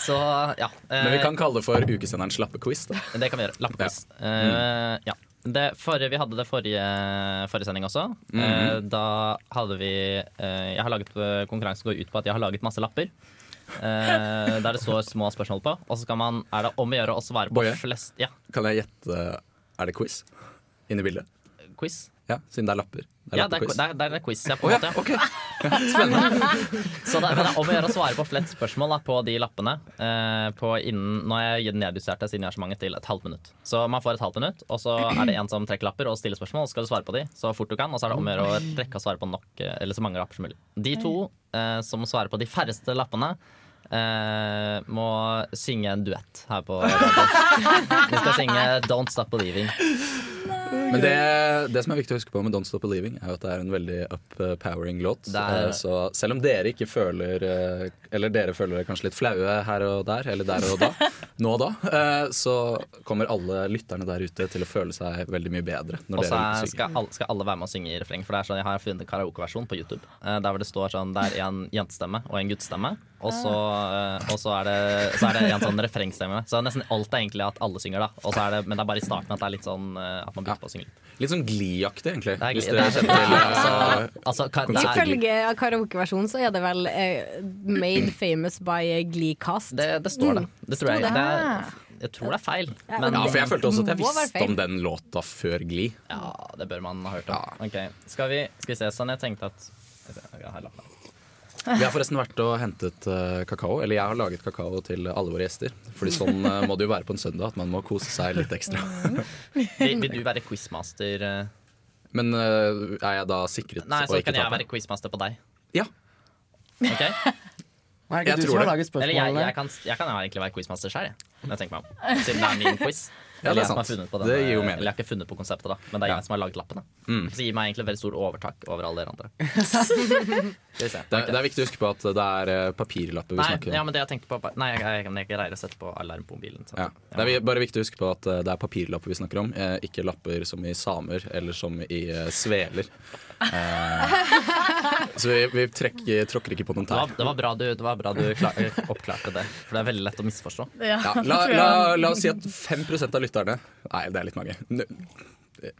Så ja. eh, Men vi kan kalle det for ukesenderens lappequiz. Da. Det kan vi gjøre. Lappequiz. Eh, ja. Det forrige, vi hadde det forrige, forrige sending også. Eh, da hadde vi eh, Jeg har laget eh, Konkurransen går ut på at jeg har laget masse lapper. eh, der det står små spørsmål på. Og så skal man, er det om å gjøre å svare på Boje? flest Ja, Kan jeg gjette Er det quiz inne i bildet? quiz. Ja, siden det er lapper. Det Ja, det er, lappequiz. det er, det er en quiz. Ja, på Å en ja, måte, ja. ok. Så det, men det er om å gjøre å svare på flest spørsmål da, på de lappene. Eh, på innen, nå har jeg nedjustert det siden jeg har så mange til et halvt minutt. Så man får et halvt minutt, og så er det en som trekker lapper og stiller spørsmål. Og så skal du svare på de så fort du kan, og så er det om å gjøre å rekke å svare på nok, eh, eller så mange lapper som mulig. De to eh, som svarer på de færreste lappene, eh, må synge en duett her på radioen. De skal synge 'Don't Stop Believing'. Men det, det som er viktig å huske på med Don't Stop Believing, er jo at det er en veldig uppowering låt. Det er- Eh, Så selv om dere ikke føler eh, Eller dere føler dere kanskje litt flaue her og der, eller der og da, nå og da, eh, så kommer alle lytterne der ute til å føle seg veldig mye bedre når Og så dere er- synger. skal, alle- skal alle være med og synge i refreng. For det er sånn, Jeg har funnet en karaokeversjon på YouTube. eh, Der hvor det står sånn, det er en jentestemme og en guttestemme. Og så, eh, og så, er, det, så er det en sånn refrengstemme. Så nesten alt er egentlig at alle synger, da. Og så er det, men det er bare i starten at det er litt sånn eh, at man begynner på å synge litt. Litt sånn Glee-aktig, egentlig. Det er, hvis gl- dere det er, kjenner til eh, altså, altså, ka- det er, Ifølge karaokeversjonen så er det vel eh, 'Made famous by Gleecast'. det, det Mm. står det. Det tror jeg. Det er, jeg tror det er feil. Men Ja, for jeg følte også at jeg Må være visste feil. om den låta før Glee. ja, det bør man ha hørt om. Ok, Skal vi, skal vi se sånn? Jeg tenkte at skal vi se, jeg har lappen her. Vi har forresten vært og hentet eh, kakao, eller jeg har laget kakao til alle våre gjester. Fordi sånn eh, må det jo være på en søndag, at man må kose seg litt ekstra. Vil, vil du være quizmaster? eh? Men eh, er jeg da sikret Nei, å så ikke kan jeg tape? være quizmaster på deg. Ja. Ok? Hva er Jeg det ikke du tror som har det. laget Eller jeg, jeg, spørsmålene? kan, jeg kan egentlig være quizmaster sjøl, jeg. Når jeg tenker meg om. Siden det er min quiz. Ja, Eller det er jeg som har sant. funnet på den, Det gir jo eh, mening. Eller jeg har ikke funnet på konseptet, da men det er Ja. jeg som har lagd lappene. Mm. Så det gir meg egentlig veldig stor overtak over alle dere andre. Skal vi se. Det, er- det er viktig å huske på at det er eh, papirlapper vi Nei, snakker om. ja, men det jeg tenkte på var- Nei, jeg, jeg, jeg, jeg greier å sette på alarm på mobilen. Så. Ja. Det er vi- bare viktig å huske på at eh, det er papirlapper vi snakker om, eh, ikke lapper som i samer eller som i eh, sveler. Eh, så vi, vi trekker, tråkker ikke på noen Det var, tær. det var bra du, det var bra du klar, oppklarte det, for det er veldig lett å misforstå. Ja, Ja, det la, tror jeg. la, la oss si at 5 av lytterne Nei, det er litt mange. N-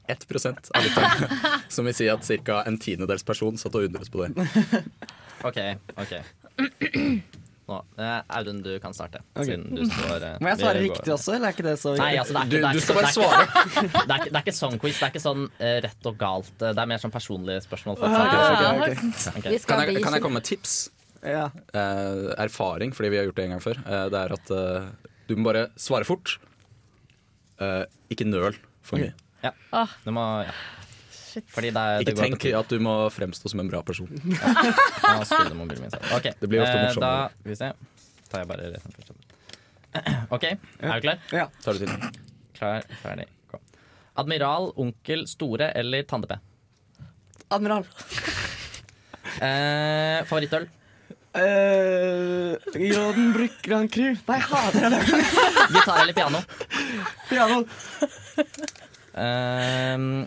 1 av lytterne. Som vil si at ca. en tiendedels person satt og undret på det. OK. ok Nå, eh, Audun, du kan starte. Siden du står eh, Må jeg vi svare går- riktig også, eller er ikke det så Nei, altså, det er ikke, Du, det er du ikke, skal det bare er ikke- svare. Det er, ikke, det er ikke sånn quiz. Det er ikke sånn eh, rett og galt. Det er mer sånn personlige spørsmål. For Ah, ok, ok. Vi Kan skal jeg, bli kan jeg komme med tips? Ja. Eh, erfaring, fordi vi har gjort det en gang før. Eh, det er at eh, du må bare svare fort. Eh, ikke nøl for mye. Du må, ja. Shit. Fordi det, er- Ikke det går på tenk tid. at du må fremstå som en bra person. Nå skrudde mobilen min seg. Ok, Det blir ofte eh, morsommere. Da skal vi se. tar jeg bare resten først. OK, er du klar? ja. Tar du til? Klar, ferdig, gå. Admiral, onkel, store eller Tande-P? Admiral. Eh, favorittøl? Uh, Gråden bruk Grand Cru. Nei, hater jeg det. Gitar eller piano? Piano. Eh, eh,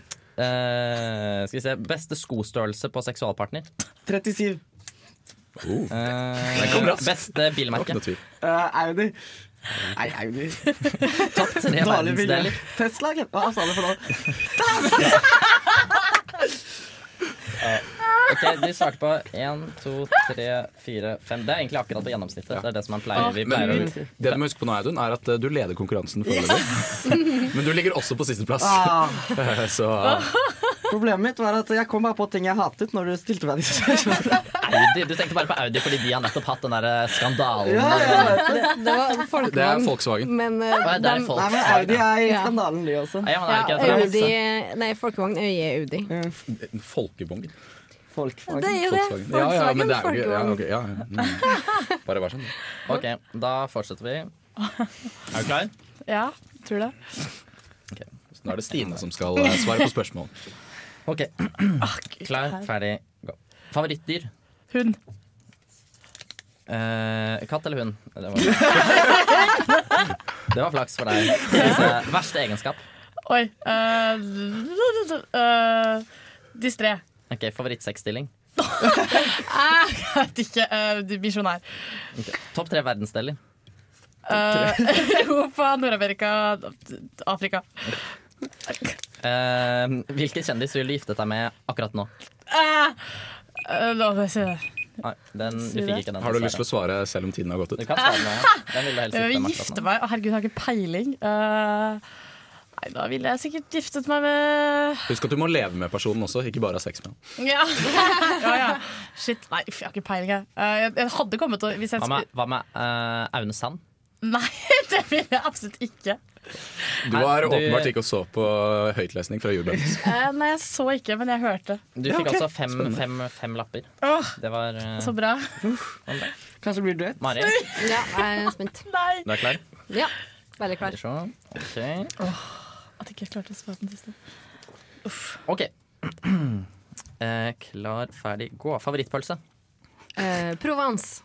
skal vi se Beste skostørrelse på seksualpartner? 37. Eh, Den kom raskt. beste Ikke bilmerke? noe tvil. Eh, Audi. Nei, Audi. Topp tre Dårlig bilde. verdensdeler? Tesla. ja. Hva sa du for noe? Ok, Du svarte på én, to, tre, fire, fem. Det er egentlig akkurat på gjennomsnittet. Det er det som man pleier, vi pleier å Men det du må huske på nå, Audun, er at eh, du leder konkurransen foreløpig. Men du ligger også på sisteplass. Ah, Så problemet mitt var at jeg kom bare på ting jeg hatet når du stilte meg disse spørsmålene. Audi. Du tenkte bare på Audi fordi de har nettopp hatt den der eh, skandalen. Ja, ja, ja. Det, det var det er Folkvogn. Volkswagen. Men eh, Å, ja, det er dem- folk. Nei, men Audi er i Ja. skandalen, de også. Ja, men er det ja, ikke det? Audi Nei, Folkevogn øye Audi. Folkevogn. Mm, Folk, folk. Det er jo det. Volkswagen. Ja, ja, men det er jo ikke ja, Folkevogn. ok, ja, ja. Mm. Bare vær sånn. Ok, da fortsetter vi. Er du klar? Ja, tror det. Nå er det Stine som skal eh, svare på spørsmål. Ok. Klar, ferdig, gå. Favorittdyr? Hun. Eh, katt eller hund? Det var, det var flaks for deg. Skal vi se. Verste egenskap? Oi. eh, eh, distré. Ok, Favorittsexstilling? Jeg vet ikke. eh, misjonær. Ok. Topp tre verdensdeler? Eh, Europa, Nord-Amerika, Afrika. Eh, hvilken kjendis vil du gifte deg med akkurat nå? Eh, eh, la meg si det. Nei, Ah, den, du fikk ikke den. Har du lyst til å svare selv om tiden har gått Du ut? kan svare nå. Den vil du helst Jeg gifte deg vil med gifte akkurat nå. meg. Å, herregud, jeg har ikke peiling. Eh, nei, da ville jeg sikkert giftet meg med Husk at du må leve med personen også, ikke bare ha sex med ham. Ja, ja. ja. Shit. Nei, uff, jeg har ikke peiling, jeg. Eh, jeg, jeg hadde kommet til å hvis jeg Hva skulle- med, hva med eh, Aune Sand? Nei, det vil jeg absolutt ikke. Du var Nei, du- åpenbart ikke og så på høytlesning fra julebrens. Eh, nei, jeg så ikke, men jeg hørte. Du fikk altså fem, fem, fem lapper. Åh, Det var eh, så bra. Kanskje blir du et? Mari, Ja, jeg er spent. Nei. du er klar? Ja, veldig klar. Skal vi se. Ok. At jeg ikke klarte å svare på den siste. Ok. Eh, klar, ferdig, gå. Favorittpølse. Eh, Provence.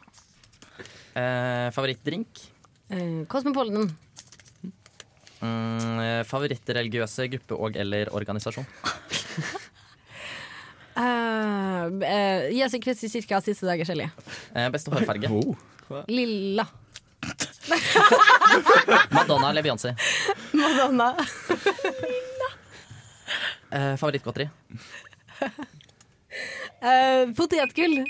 Eh, favorittdrink. Eh, Cosmopolitan. Mm, eh, favorittreligiøse gruppe og- eller organisasjon. Eh, eh, Jesu Kristi kirke av siste dagers hellige. Eh, beste hårfarge. Oh. Lilla. Madonna eller Beyoncé. Madonna. Eh, favorittgodteri. Eh, potetgull.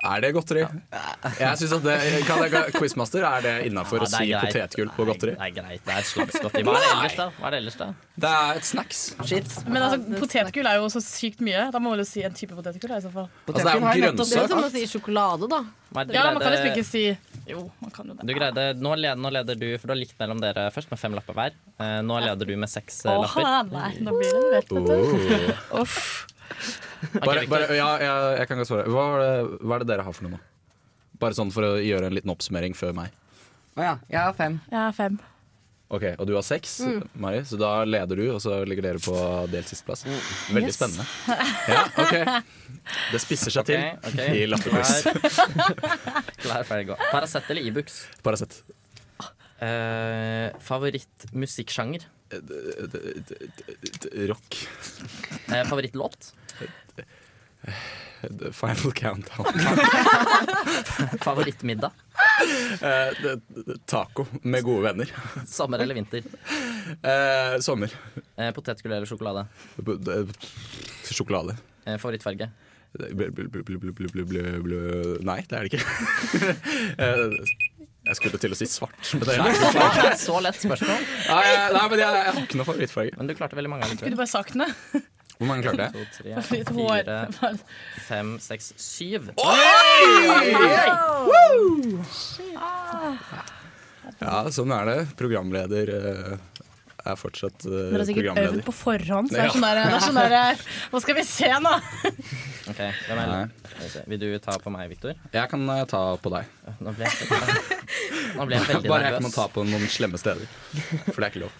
Er det godteri? Jeg synes at det, kan jeg, Quizmaster, er det innafor å Ja, det er si greit. potetgull på godteri? Nei, det er greit. Det er et slags godteri. Hva er det ellers, da? Hva er det ellers, da? Det er et snacks. Shit. Men altså, potetgull er jo så sykt mye. Da må man jo si en type potetgull. da, i så fall. Altså, det er jo Det er jo som å grønnsak. si sjokolade, da. Hva er det du Ja, man kan greide- liksom ikke si Jo, man kan jo det. Du greide, nå, leder, nå leder du, for du har likt mellom dere først med fem lapper hver. Eh, nå leder du med seks eh, Åh, lapper. nei, da blir det levert, vet du. Oh. Uff. Ok, Bare, Victor. bare, ja, ja, jeg kan godt svare. Hva er, det, hva er det dere har for noe nå? Bare sånn for å gjøre en liten oppsummering før meg. Å ja, jeg har fem. Jeg er fem. Ok, Og du har seks, Mm. Mari, så da leder du, og så ligger dere på delt sisteplass. Mm. Veldig spennende. Ja, ok Det spisser seg til Ok, ok. i lappequiz. Klar, ferdig, gå. Paracet eller Ibux? Paracet. Uh, Favorittmusikksjanger? Rock. Eh, favorittlåt? The Final countdown. Favorittmiddag? Eh, det- det- taco med gode venner. Sommer eller vinter? Eh, sommer. Eh, potetgull eller sjokolade? B- d- eh, Sjokolade. Eh, favorittfarge? Bl- bl- bl- bl- bl- bl- bl- bl- bl- Nei, det er det ikke. Eh, Jeg skulle til å si svart. Men det er Det var et så lett spørsmål, Nei, jeg- nei, men jeg, jeg har ikke noe favorittfarge. men du klarte veldig mange. Skulle du bare sagt noe? Hvor mange klarte jeg? To, tre, Litt hår. fire, fem, seks, syv. Ja, sånn er det. Programleder eh, er fortsatt eh, Dere har sikkert øvd programleder. på forhånd, så det Ja. er sånn der, det er sånn der Hva skal vi se nå? Ok, hvem er Nei. Skal vi se. Vil du ta på meg, Victor? Jeg kan eh, ta på deg. Nå ble jeg, Nå ble jeg veldig Bare jeg ikke må nervøs. ta på noen slemme steder. For det er ikke lov.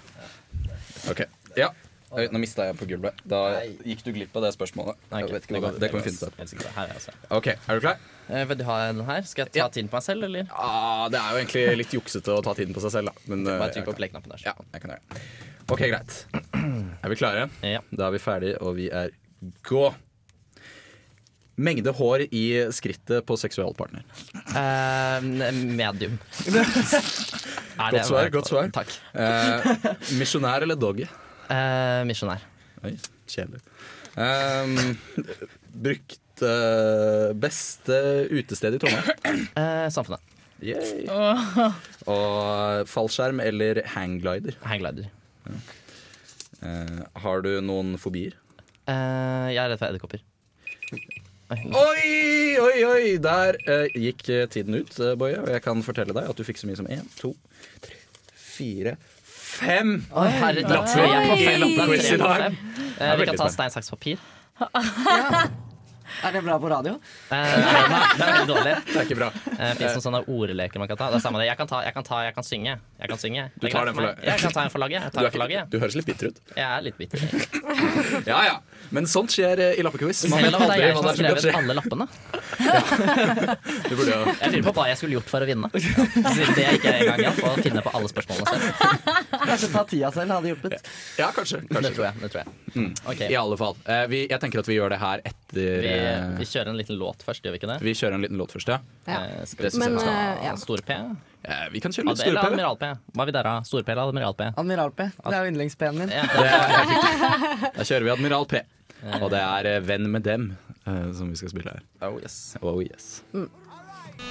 Ok, ja Oi, Nå mista jeg på gulvet. Da gikk du glipp av det spørsmålet. Nei, Jeg ok, vet ikke hva går- det, det kan vi finne ut av. Helt sikkert. Her er jeg også. Ok, Er du klar? Eh, Vil du ha den her? Skal jeg ta tiden på meg selv, eller? Ah, det er jo egentlig litt juksete å ta tiden på seg selv, da. Men, eh, Bare jeg trykk på kan- play-knappen der. Ja, jeg kan gjøre det. Ok, greit. Er vi klare? Ja. Da er vi ferdige, og vi er gå. Mengde hår i skrittet på seksualpartner. Eh, medium. Nei, det Godt er- svar, godt svar. Takk. Eh, misjonær eller doggy? Eh, misjonær. Oi, kjedelig. Um, brukt eh, beste utested i Trondheim. Eh, samfunnet. Yay. Åh, Og fallskjerm eller hangglider. Hangglider. Eh, har du noen fobier? Eh, jeg er redd for edderkopper. Oi, oi, oi! Der eh, gikk eh, tiden ut, eh, Boje. Og jeg kan fortelle deg at du fikk så mye som én, to, tre, fire, fem! Oi, herregud, det er tre på fem. Det er tre på fem. Eh, vi veldig kan ta spennende. stein, saks, papir. Er det bra på radio? Eh, nei, det er veldig dårlig. Det er ikke bra. Eh, Fins noen sånne ordleker man kan ta? Det er samme det. Jeg kan ta, jeg kan, ta, jeg kan synge. Jeg kan synge. Det er tar greit den for meg. laget. Jeg kan ta en for laget. Jeg, Du, tar er en for ikke, laget. du høres litt bitter ut. jeg er litt bitter. Ja, ja. Men sånt skjer eh, i lappequiz. Man Selv vet om det er aldri jeg hva som det er som har kan skrevet skje. alle lappene. Du burde jo Jeg lurer på hva jeg skulle gjort for å vinne. Siden det ikke jeg engang hjalp å finne på alle spørsmålene selv. Kanskje ta tida selv hadde hjulpet. Ja, kanskje. Det kanskje. tror jeg. Det tror jeg. Mm. Ok, I alle fall. Eh, vi, jeg tenker at vi gjør det her etter vi, eh, vi kjører en liten låt først, gjør vi ikke det? Vi kjører en liten låt først, ja. Ja. Eh, Skal vi Men, se, eh, ja. Store P? Eh, vi kan kjøre litt Eller storpøl. Admiral P? Hva vil dere ha? Store P eller Admiral P? Admiral P. Det er jo yndlingspenen min. Ja, Da kjører vi Admiral P. Og det er eh, Venn med dem eh, som vi skal spille her. oh, yes. Mm. Oh yes.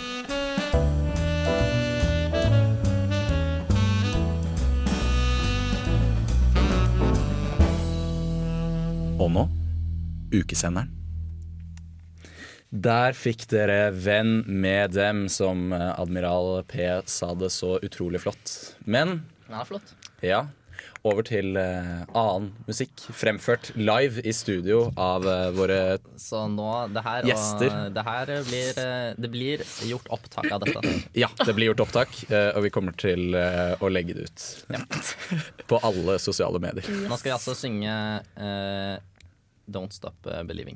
Og nå ukesenderen. Der fikk dere Venn med dem, som eh, Admiral P sa det så utrolig flott. Men Den er flott. ja. Over til eh, annen musikk, fremført live i studio av eh, våre Så nå, det her, Gjester. og, det her blir, eh, det blir gjort opptak av dette. Ja, det blir gjort opptak, eh, og vi kommer til eh, å legge det ut. På alle sosiale medier. Nå skal vi altså synge eh, Don't Stop eh, Believing.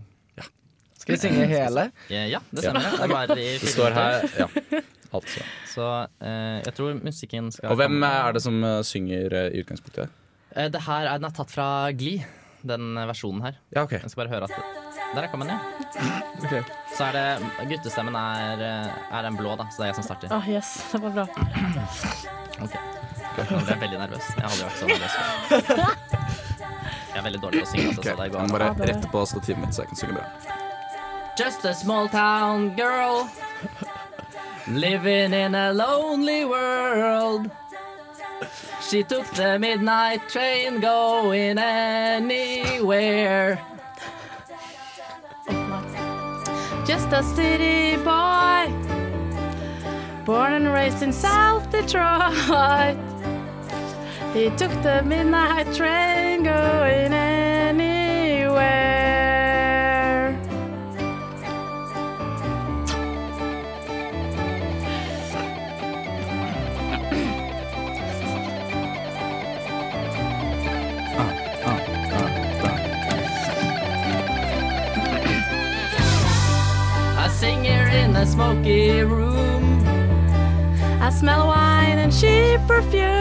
Skal vi synge hele? Eh, ja, det Ja. stemmer. Det, er bare i Det fire står minutter. her ja, altså. Så eh, jeg tror musikken skal Og hvem komme. er det som eh, synger eh, i utgangspunktet? Eh, det her er, den er tatt fra Glee, den eh, versjonen her. Ja, ok. Jeg skal bare høre at Der er kommet den, ja. Så er det Guttestemmen er, eh, er den blå, da, så det er jeg som starter. Åh, yes, det var bra. Ok. Nå ble jeg veldig nervøs. Jeg har aldri vært så nervøs før. Jeg er veldig dårlig til å synge, altså, Ok, så det Jeg går må bare rette på stativet mitt, så jeg kan synge bra. Just a small town girl living in a lonely world. She took the midnight train going anywhere. Just a city boy Born and raised in South Detroit He took the midnight train going anywhere my smoky room. I smell wine and cheap perfume.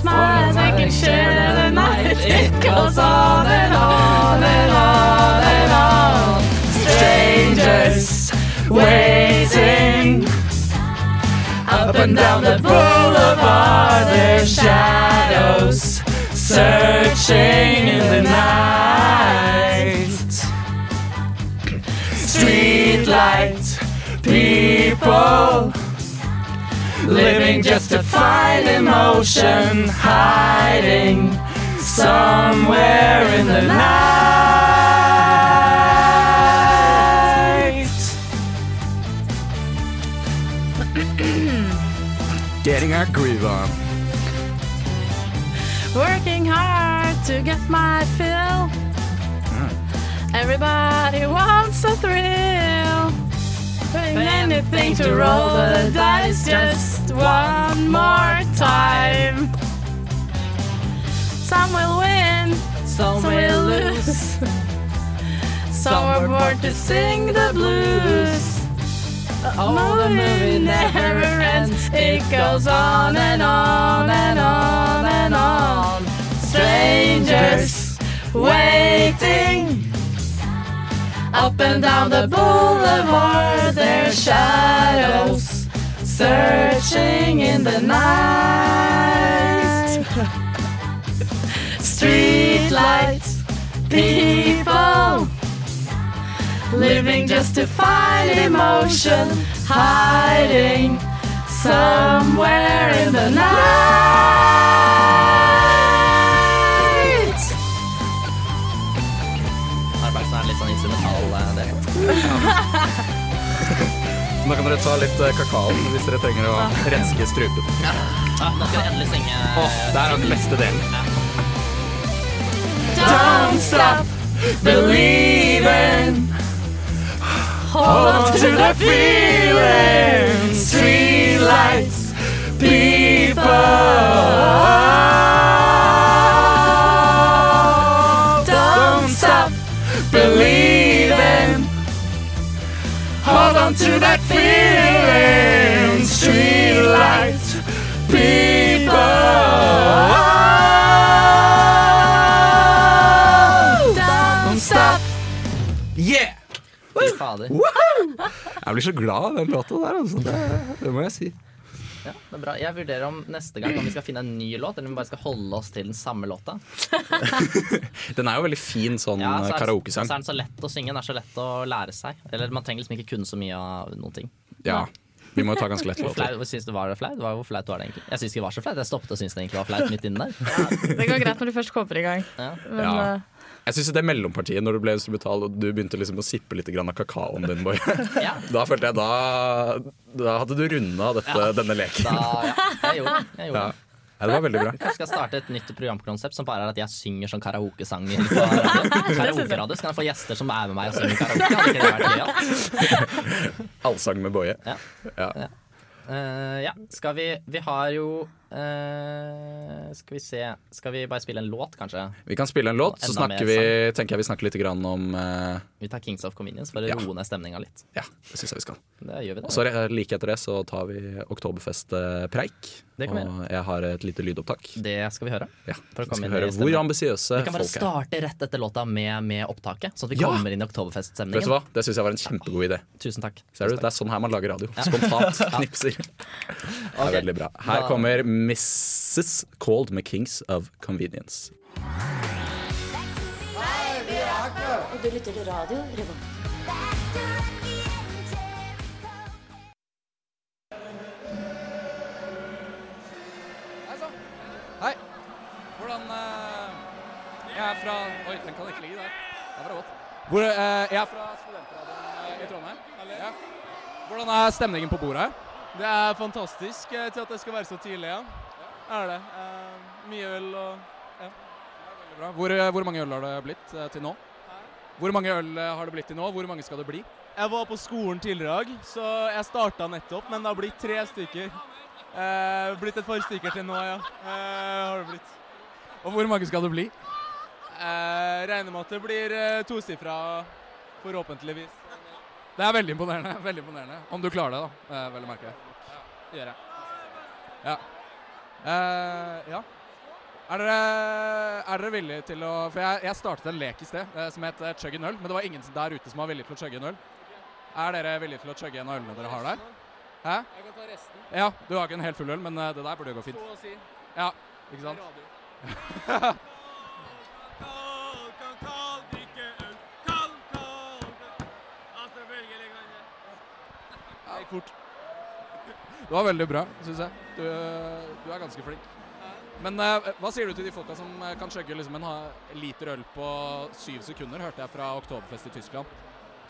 Smiles we can share the night. It goes on and on and on and on. Strangers waiting up and down the boulevard. Their shadows searching in the night. Streetlight people living just to find emotion hiding somewhere in the night. Getting our groove on. Working hard to get my fill. Everybody wants a thrill. Doing anything to roll the dice just one more time. Some will win, some, will lose. some are born to sing the blues. Oh, the movie never ends. It goes on and on and on and on. Strangers waiting up and down the boulevard. Their shadows searching in the night. Streetlights, people living just to find emotion hiding somewhere in the night. Arbeidsnær, litt sånn instrumental eh, del. Nå kan dere ta litt eh, kakao hvis dere trenger å renske strupen. Ja, da skal vi endelig synge eh, Åh, det er den beste delen. Don't stop believing. Hold on to the feeling. Streetlights, people. Don't stop believing. Hold on to that feeling. Streetlights, people. Don't stop. Yeah! Fy fader. Jeg blir så glad av den låta der, altså. Det, det må jeg si. Ja, det er bra. Jeg vurderer om neste gang om vi skal finne en ny låt, eller om vi bare skal holde oss til den samme låta. Den er jo veldig fin sånn Ja, eh, så er- karaokesang. Så er den så lett å synge, den er så lett å lære seg. Eller man trenger liksom ikke kunne så mye av noen ting. Ja. Vi må jo ta ganske lett Hvor låter. flaut synes du var det flaut? Hva- Hvor flaut var det egentlig? Jeg syns ikke det var så flaut, jeg stoppet og syntes det egentlig var flaut midt inni der. Det går greit når du først kommer i gang. Ja. Men Ja. eh, Jeg syns det mellompartiet, når du ble instrumental og du begynte liksom å sippe litt grann av kakaoen din, Boy, Ja. da følte jeg da Da hadde du runda dette, denne leken. Da, Ah, ja, jeg gjorde det. Jeg gjorde Ja. det. ja, det var veldig bra. Kanskje skal starte et nytt programkonsept som bare er at jeg synger sånn karaokesanger. på radio. Karaokeradio. Så kan jeg få gjester som er med meg og synger karaoke. Hadde ikke det vært gøyalt? Allsang med Boje. Ja. Ja. Eh, ja, skal vi Vi har jo eh, Skal vi se Skal vi bare spille en låt, kanskje? Vi kan spille en låt, så Enda snakker mer vi, tenker jeg vi snakker litt grann om eh, Vi tar Kings of Convenience for å Ja. roe ned stemninga litt. Ja, det syns jeg vi skal. Det gjør vi Og det. så re- like etter det så tar vi Oktoberfest-preik. Det kan vi Og jeg har et lite lydopptak. Det skal vi høre. Ja, For å så skal komme inn vi i høre stemningen. hvor ambisiøse Vi kan bare folk er. starte rett etter låta med, med opptaket, sånn at vi Ja! kommer inn i Vet du oktoberfeststemningen. hva? Det syns jeg var en kjempegod idé. Tusen takk. Ser du? Det er sånn her man lager radio. Spontant knipser. Det er Ok. veldig bra. Her Da- kommer Mrs. Called med Kings of Convenience. Og du lytter til Radio Revolt. Hei. Hvordan Jeg er fra Oi, den kan ikke ligge der. Der var det vått. jeg er fra studentradioen i Trondheim. Hvordan er stemningen på bordet her? Det er fantastisk eh, til at det skal være så tidlig, ja. Er det. Eh, mye øl og ja. Veldig bra. Hvor, mange øl har det blitt eh, til nå? Hvor mange øl eh, har det blitt til nå? Hvor mange skal det bli? Jeg var på skolen tidligere i dag, så jeg starta nettopp, men det har blitt tre stykker. Eh, blitt et par stykker til nå, ja. Eh, har det blitt. Og hvor mange skal det bli? Eh, regner med at det blir eh, tosifra, forhåpentligvis. Det er veldig imponerende. veldig imponerende. Om du klarer det, da. Eh, vel å merke. Det gjør jeg. Ja. Eh, ja. Er dere, er dere villige til å For jeg, jeg startet en lek i sted eh, som het eh, chugg en øl, men det var ingen som- der ute som var villig til å chugge en øl. Er dere villige til å chugge en av ølene dere har der? Hæ? Jeg kan ta resten. Ja, du har ikke en helt full øl, men eh, det der burde jo gå fint. Så å si. Ja, ikke sant? Det gikk fort. Det var veldig bra, syns jeg. Du, eh, du er ganske flink. Men eh, hva sier du til de folka som eh, kan chugge liksom en ha- liter øl på syv sekunder, hørte jeg fra Oktoberfest i Tyskland.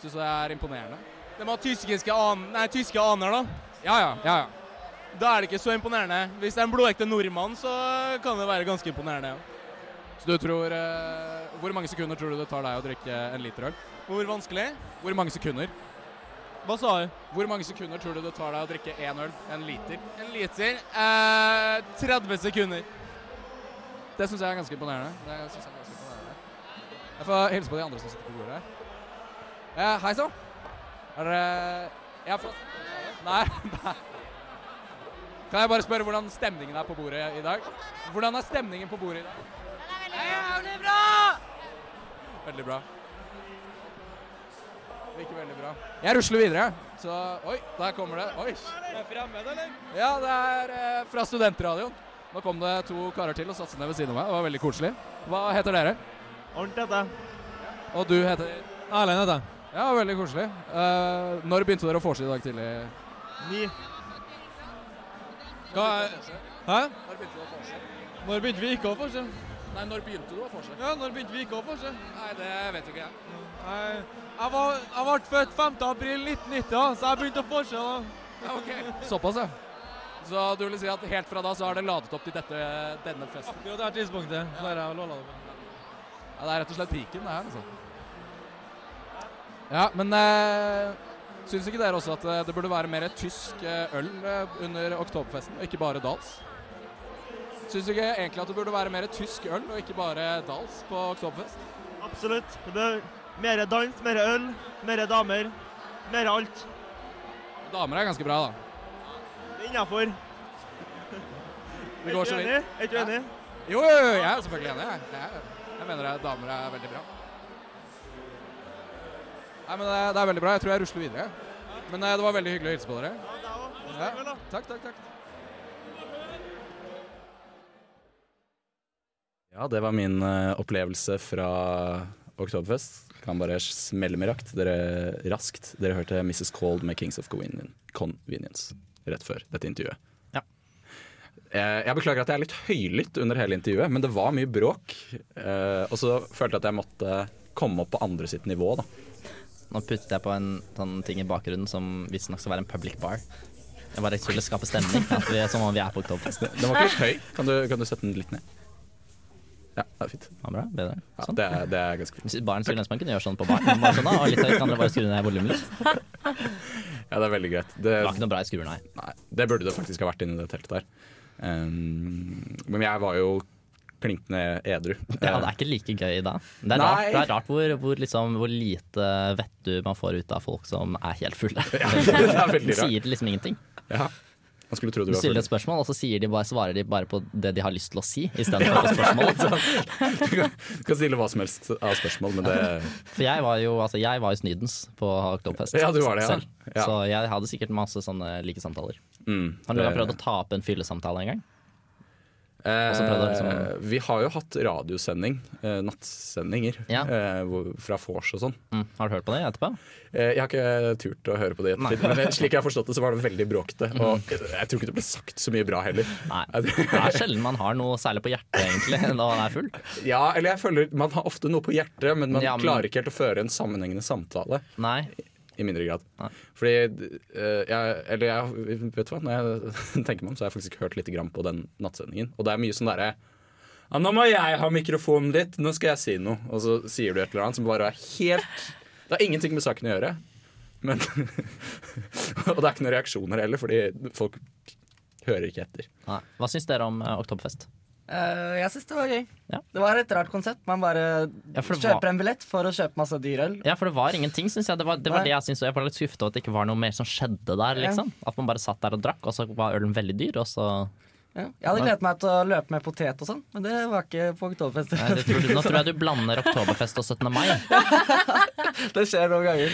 Syns du det er imponerende? De har tyske, an nei, tyske aner, da. Ja, ja. ja, ja. Da er det ikke så imponerende. Hvis det er en blodekte nordmann, så kan det være ganske imponerende. ja. Så du tror eh, Hvor mange sekunder tror du det tar deg å drikke en liter øl? Hvor vanskelig? Hvor mange sekunder? Hva sa du? Hvor mange sekunder tror du det tar deg å drikke én øl? En liter? En liter eh, 30 sekunder. Det syns jeg er ganske imponerende. Det synes jeg er ganske imponerende. Jeg får hilse på de andre som sitter på bordet her. Eh, Hei sann. Er dere Jeg har fått Nei. nei. Kan jeg bare spørre hvordan stemningen er på bordet i dag? Hvordan er stemningen på bordet i dag? Jævlig bra! Veldig bra. Ikke veldig bra. Jeg rusler videre, så Oi, der kommer det. Oi. Er det fremmed, eller? Ja, det er eh, fra studentradioen. Nå kom det to karer til og satte seg ned ved siden av meg. Det var veldig koselig. Hva heter dere? Ordentlig, dette. Og du heter? Erlend heter jeg. Ja, veldig koselig. Eh, når begynte dere å vorse i dag tidlig? Ni. Hæ? Når begynte du å forse? Når begynte vi ikke å vorse? Nei, når begynte du å vorse? Ja, når begynte vi ikke å vorse? Nei, det vet ikke jeg. Jeg, jeg, var, jeg ble født 5. april 1990, da, så jeg begynte å forse da. Såpass, ja. Så du vil si at helt fra da så har det ladet opp til dette, denne festen? Akkurat det her tidspunktet. Så har jeg låla det på. Ja, det er rett og slett piken, det her, altså. Ja, men eh, syns ikke dere også at eh, det burde være mer tysk eh, øl eh, under oktoberfesten, og ikke bare Dals? Syns ikke egentlig at det burde være mer tysk øl og ikke bare Dals på oktoberfest? Absolutt. Det bør mer dans, mer øl, mer damer, mer alt. Damer er ganske bra, da. Det er innafor. Det går så vidt. Er du enig? Jo, jo, jo, jeg er selvfølgelig enig. Jeg, jeg, jeg mener at damer er veldig bra. Nei, men det, det er veldig bra. Jeg tror jeg rusler videre. Men eh, det var veldig hyggelig å hilse på dere. Ja, takk, takk, takk. Ja, det var min eh, opplevelse fra Oktoberfest. Kan bare smelle med rakt. Dere, raskt. Dere hørte Mrs. Cold med Kings of Conveni- Convenience rett før dette intervjuet. Eh, Jeg beklager at jeg er litt høylytt under hele intervjuet, men det var mye bråk. Eh, Og så følte jeg at jeg måtte komme opp på andre sitt nivå, da. Nå puttet jeg på en sånn ting i bakgrunnen som visstnok skal være en public bar. Jeg bare skulle skape stemning, at vi, som om vi er på Oktoberfest. Den var ikke litt høy. Kan du, kan du sette den litt ned? Ja, det er fint. Ja, bra, bedre. Sånn. det er- ganske fint. Baren skulle ønske man kunne gjøre sånn på baren. Bare sånn, da, og litt høyt, andre bare skru ned volumet litt. Ja, det er veldig greit. Det var ikke noe bra i skruer, nei. Det burde det faktisk ha vært inni det teltet der. Um, men jeg var jo klinkende edru. Ja, det er ikke like gøy da. Det er Nei. rart, det er rart hvor, hvor, liksom, hvor lite vettu man får ut av folk som er helt fulle. det er veldig De rart. sier liksom ingenting. Ja. Man skulle tro du Du var full. stiller et spørsmål, og så sier de bare, svarer de bare på det de har lyst til å si, istedenfor på spørsmål. Du kan stille hva som helst av spørsmål, men det For jeg var jo, altså, jeg var jo snydens på Oktoberfest Ja, du var det, ja. selv. Ja. Så jeg hadde sikkert masse sånne like samtaler. Mm, Har dere det- prøvd å ta opp en fyllesamtale en gang? Og så prøvde jeg eh, liksom- Vi har jo hatt radiosending, eh, nattsendinger, eh, hvor- fra vors og sånn. Mm, Har du hørt på det etterpå? Eh, jeg har ikke turt å høre på det i ettertid, Nei. Mm. men slik jeg har forstått det, så var det veldig bråkete. Og jeg jeg tror ikke det ble sagt så mye bra heller. Nei. Det er sjelden man har noe særlig på hjertet, egentlig, når man er full. Ja, eller jeg føler man har ofte noe på hjertet, men man Ja, men- klarer ikke helt å føre en sammenhengende samtale. Nei. I mindre grad. Fordi eh, jeg, Eller jeg, vet du hva, når jeg tenker meg om, så har jeg faktisk hørt litt grann på den nattsendingen. Og det er mye sånn derre ja, 'Nå må jeg ha mikrofonen ditt, nå skal jeg si noe.' Og så sier du et eller annet som bare er helt Det har ingenting med saken å gjøre. Men Og det er ikke noen reaksjoner heller, fordi folk hører ikke etter. Nei. Hva syns dere om eh, Oktoberfest? Eh, jeg syns det var gøy. Det var et rart konsept. Man bare Ja, for det kjøper var- en billett for å kjøpe masse dyrøl. Ja, for det var ingenting, syns jeg. Det var det, Nei. var det jeg syntes. og Jeg var litt skuffa over at det ikke var noe mer som skjedde Ja. der. liksom. At man bare satt der og drakk, og så var ølen veldig dyr, og så Ja. Jeg hadde gledet meg til å løpe med potet og sånn, men det var ikke på Oktoberfest. Nei, det tror du, Nå tror jeg du blander Oktoberfest og 17. mai. det skjer noen ganger.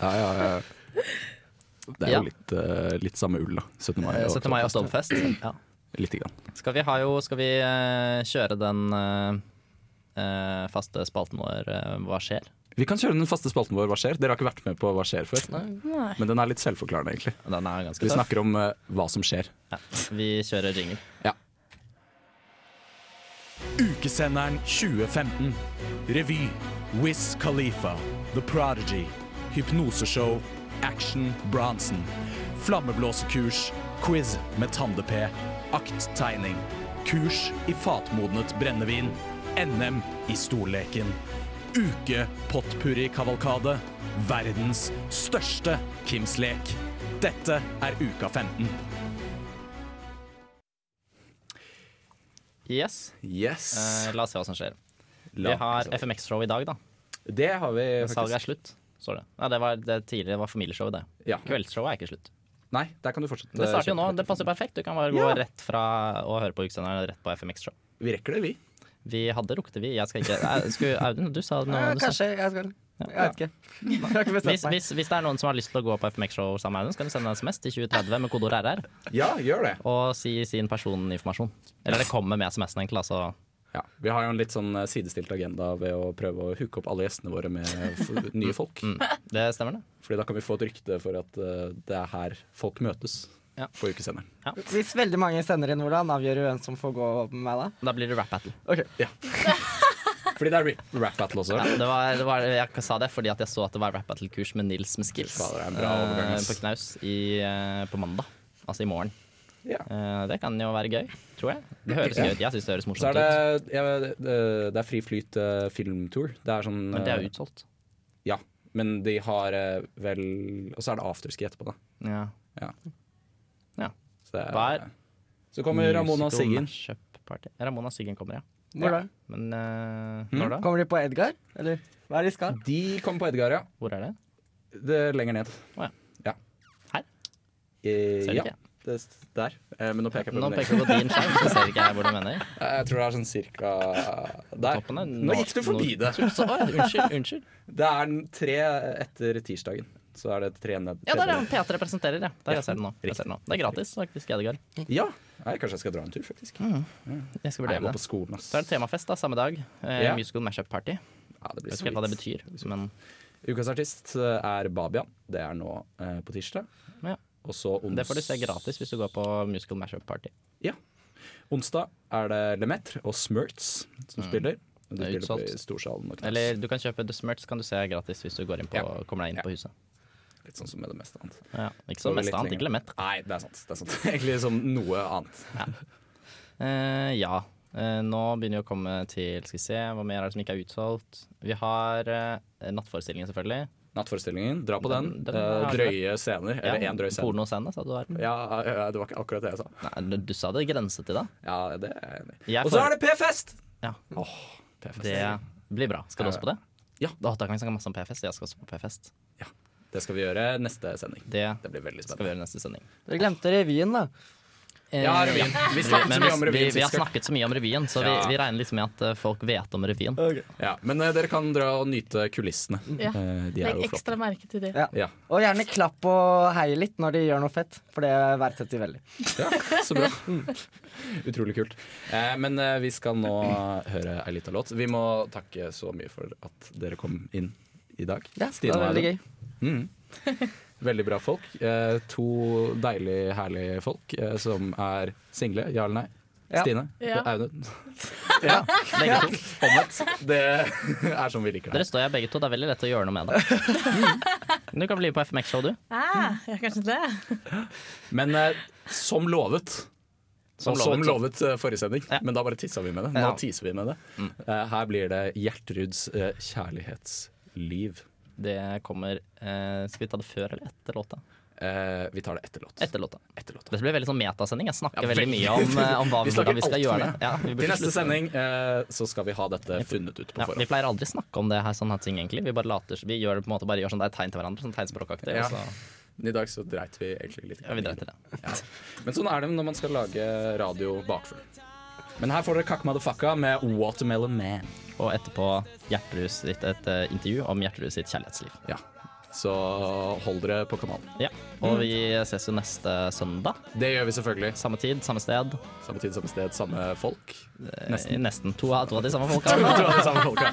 Ja, ja, ja. Det er Ja. jo litt, eh, litt samme ull, da. 17. mai Eh, 17. mai og Oktoberfest. Ja. Lite grann. Skal vi, ha jo, skal vi eh, kjøre den eh, eh, faste spalten vår eh, Hva skjer? Vi kan kjøre den faste spalten vår Hva skjer? Dere har ikke vært med på Hva skjer før. Nei. Men den er litt selvforklarende, egentlig. ganske Vi tøff. snakker om eh, hva som skjer. Vi kjører jingle. Ja. Ukesenderen 2015. Revy. Wiz Khalifa. The Prodigy. Hypnoseshow. Action Bronson. Flammeblåsekurs. Quiz med Tande-P. Akttegning. Kurs i fatmodnet brennevin. NM i storleken. Uke potpurri-kavalkade. Verdens største Kims lek. Dette er uka 15. Yes. Yes. Eh, la oss se hva som skjer. La vi har oss se. FMX-show i dag, da. Det har vi faktisk. Salget er slutt, står det. Nei, det var det tidligere det var familieshowet, det. Ja. Kveldsshowet er ikke slutt. Nei, der kan du fortsette. eh, Det starter jo nå. Det liksom. passer perfekt. Du kan bare gå Ja. rett fra å høre på ukesenderen rett på FMX-show. Vi rekker det, vi. Vi hadde rukket det, vi. Jeg skal ikke Nei, skulle, Audun, du sa noe. Ja, du sa- kanskje. Jeg skal Jeg vet ikke. Jeg har ikke Hvis, bestemt meg. hvis, hvis det er noen som har lyst til å gå på FMX-show sammen med Audun, så kan du sende en SMS til 2030 med kodeord RR. Ja, gjør det. Og si sin personinformasjon. Eller det kommer med SMS-en, egentlig. Altså. Ja, Vi har jo en litt sånn eh, sidestilt agenda ved å prøve å hooke opp alle gjestene våre med f- nye folk. Det stemmer, det. Fordi da kan vi få et rykte for at eh, det er her folk møtes på ukesenderen. Hvis veldig mange sender inn, hvordan avgjør du hvem som får gå med meg da? Da blir det rap battle. Ok. Fordi det er rap- rap battle også. Ja, det var, det var, jeg sa det fordi at jeg så at det var rap battle-kurs med Nils med skills Fader, det er en bra overgang, eh, ass. på Knaus i, eh, på mandag. Altså i morgen. Eh, det kan jo være gøy, tror jeg. Det høres Ja. gøy ut. Jeg syns det høres Så morsomt er det, ja, det, det er Fri Flyt eh, filmtour. Det er sånn ut. Men det er eh, jo utsolgt. Ja. Men de har eh, vel Og så er det afterski etterpå, da. Ja. Ja. Ja. Så, det er, Hver så kommer Ramona musical Siggen. mashup party. Ramona Siggen kommer, ja. Hvor da? Men eh, Hmm? når da? Kommer de på Edgar? Eller hva er det de skal? De kommer på Edgar, ja. Hvor er det? Det er lenger ned. Å, ja. Ja. Her? Eh, Ser du ja. ikke? Det, der. Eh, men nå peker jeg på Nå min peker du på din skjerm, så ser ikke jeg hvor du mener. Eh, Jeg tror det er sånn cirka der. toppen er Nå gikk du forbi nord- det. Så- å, ja, unnskyld, unnskyld. Det er den tre etter tirsdagen. Så er det tre ned. Ja, der tredje. er han P3 presenterer, ja. Der jeg ser det nå. Jeg Riktig. ser det, nå. det er gratis, faktisk, Edgar. Ja. Nei, kanskje jeg skal dra en tur, faktisk. Jeg skal Nei, jeg vurdere må Mm. det. på skolen, ass. Så er det temafest da, samme dag. Eh, Ja. Musical mashup party. Ja, det blir Jeg vet ikke helt hva det sweet. betyr, men Ukas artist eh, er Babian. Det er nå eh, på tirsdag. ja. Og så ons... det får du se gratis hvis du går på musical mashup party. Ja. Onsdag er det Lemaitre og Smurts som Mm. spiller. Og Det De er spiller på utsolgt. i Storsalen og Knas. Eller du kan kjøpe The Smurts, kan du se gratis hvis du går inn på, kommer deg inn på huset. Litt sånn som med det meste annet. Ja, ikke så Går vi mest litt annet, lenger. ikke Lemaitre. Nei, det er sant. Det er sant. Egentlig som noe annet. Eh, ja. Eh, nå begynner vi å komme til Skal vi se, hva mer er det som ikke er utsolgt? Vi har eh, nattforestillingen, selvfølgelig. Nattforestillingen, dra på den. Den- den Eh, har vi. drøye scener. Eller Ja, én drøy scene. Pornoscene, sa du der. Ja, ja, det var ikke akkurat det jeg sa. Nei, du- du sa det grenset til det. Ja, det er jeg enig i. Jeg Og så får- er det P-fest! Ja. P-fest. Det blir bra. Skal du også på det? Ja. Da, da kan vi snakke masse om P-fest. Jeg skal også på P-fest. Det skal vi gjøre neste sending. Det Det blir veldig skal vi spennende. gjøre i neste sending. Dere glemte revyen, da. Ja, revyen. Vi snakket så Men mye om revyen vi, vi sist har gang. snakket så mye om revyen, så vi, Ja. Øh. vi regner liksom med at eh, folk vet om revyen. Ja, men eh, dere kan dra og nyte kulissene. Ja. Eh, de er Legg jo flotte. ekstra merke til det. Ja. Ja. Og gjerne klapp og hei litt når de gjør noe fett, for det verdsetter de veldig. ja, så bra. Utrolig kult. Eh, men eh, vi skal nå høre ei lita låt. Vi må takke så mye for at dere kom inn i dag. Ja, det var og veldig Audun. Mhm. Veldig bra folk. Eh, to deilig, herlige folk eh, som er single. Ja eller nei? Ja. Stine? Ja. Audun? ja. Begge to. Omvendt. Det er som vi liker det. Dere står her begge to. Det er veldig lett å gjøre noe med det. Du kan bli med på FMX-show, du. Ah, ja, kanskje det. Men eh, som lovet Som som lovet, som lovet, lovet eh, forrige sending, men da bare tissa vi med det. Nå Ja. teaser vi med det. Eh, her blir det Gjertruds eh, kjærlighetsliv. Det kommer eh, Skal vi ta det før eller etter låta? Eh, vi tar det etter låt. Etter låta. Dette blir veldig sånn metasending. Jeg snakker veldig mye om, eh, om hva vi, snakker hvordan vi skal altfor gjøre det. mye. Ja, vi burde Til neste slutte. sending eh, så skal vi ha dette funnet ut på Ja, vi forhånd. pleier aldri snakke om det her, sånne her ting, egentlig. Vi bare later, vi gjør det på en måte, bare gjør sånn, det er tegn til hverandre, sånn tegnspråkaktig. Ja. og så- Men I dag så dreit vi egentlig litt. Ja, vi dreit i det. Ja. Men sånn er det når man skal lage radio bakfull. Men her får dere Kakk Madafakka med Watermelon Man. Og etterpå Hjerterus sitt et eh, intervju om Hjerterus sitt kjærlighetsliv. Ja. Så hold dere på kanalen. Ja. Mm. Og vi ses jo neste søndag. Det gjør vi selvfølgelig. Samme tid, samme sted. Samme tid, samme sted, samme folk. Nesten. Nesten. To av, to av de samme folka. To av de samme folka.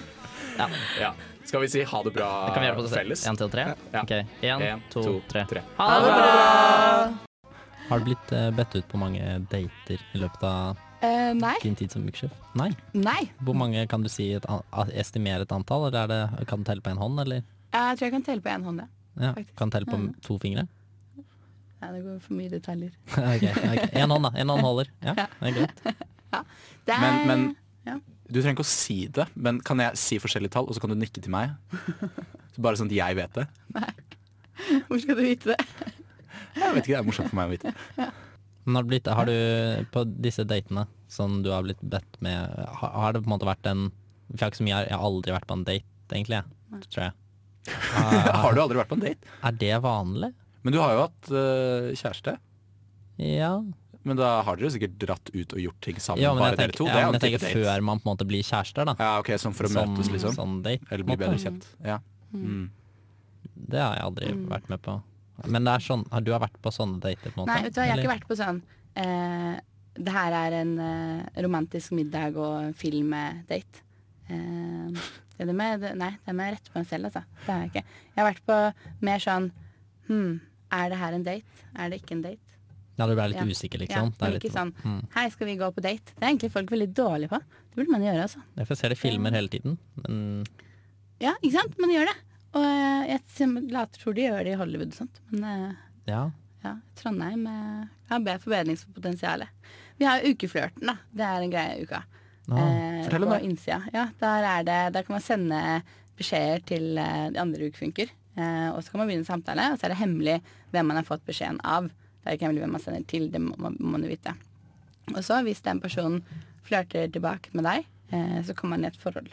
Ja. Ja. Skal vi si ha det bra Det kan vi gjøre på det felles? En, to, tre? Ja. Ok. En, En, to, to, tre. tre. Ha det bra! Har du blitt eh, bedt ut på mange dater i løpet av Eh, nei. din tid som buksjef? Nei. Nei. Hvor mange kan du si et, an- a- estimere et antall, eller er det, kan du telle på en hånd, eller? Jeg tror jeg kan telle på én hånd, ja. Ja, Faktisk. kan du telle på Ja. to fingre? Nei, det går for mye detaljer. ok, ok. En hånd da, en hånd holder. Ja, Ja. det er greit. Det er, Men, men ja. du trenger ikke å si det, men kan jeg si forskjellige tall, og så kan du nikke til meg? Så bare sånn at jeg vet det. Hvor skal du vite det? Jeg vet ikke, Det er morsomt for meg å vite. Men har, det blitt, har du på disse datene som du har blitt bedt med, har, har det på en måte vært en For jeg har ikke så mye Jeg har aldri vært på en date, egentlig, jeg, tror jeg. Har du aldri vært på en date? Er det vanlig? Men du har jo hatt øh, kjæreste. Ja. Men da har dere jo sikkert dratt ut og gjort ting sammen, ja, men bare jeg tenker, dere to. ja, det men jeg er jo en tenker type date. før man på en måte blir kjærester, da. Ja, ok, Sånn for å Som- møtes, liksom. Sånn date, Eller på en bli bedre måte. kjent. Ja. Mm. Det har jeg aldri Mm. vært med på. Men det er sånn, har du har vært på sånne dater? på en måte? Nei, vet du hva, jeg har eller? ikke vært på sånn eh, Det her er en eh, romantisk middag og film-date. Eh, det er det med, det, nei, det er med å rette på meg selv, altså. Det har jeg ikke. Jeg har vært på mer sånn Hm, er det her en date? Er det ikke en date? Ja, du ble litt Ja. usikker, Ja, liksom? det er litt ikke sånn mm. Hei, skal vi gå på date? Det er egentlig folk veldig dårlige på. Det burde man gjøre, altså. Derfor ser de filmer hele tiden. Men Ja, ikke sant? Man gjør det. Og eh, jeg t- later tror de gjør det i Hollywood og sånt. Men eh, ja. ja, Trondheim eh, har bedre forbedringspotensial. Vi har jo ukeflørten, da. Det er en greie i uka. Eh, Ah, fortell om på det. innsida. Ja, der, er det, der kan man sende beskjeder til eh, de andre ukefunker. Eh, og så kan man begynne en samtale, og så er det hemmelig hvem man har fått beskjeden av. Det er ikke hemmelig hvem man sender til, det må må man jo vite. Og så, hvis den personen flørter tilbake med deg, eh, så kommer man i et forhold.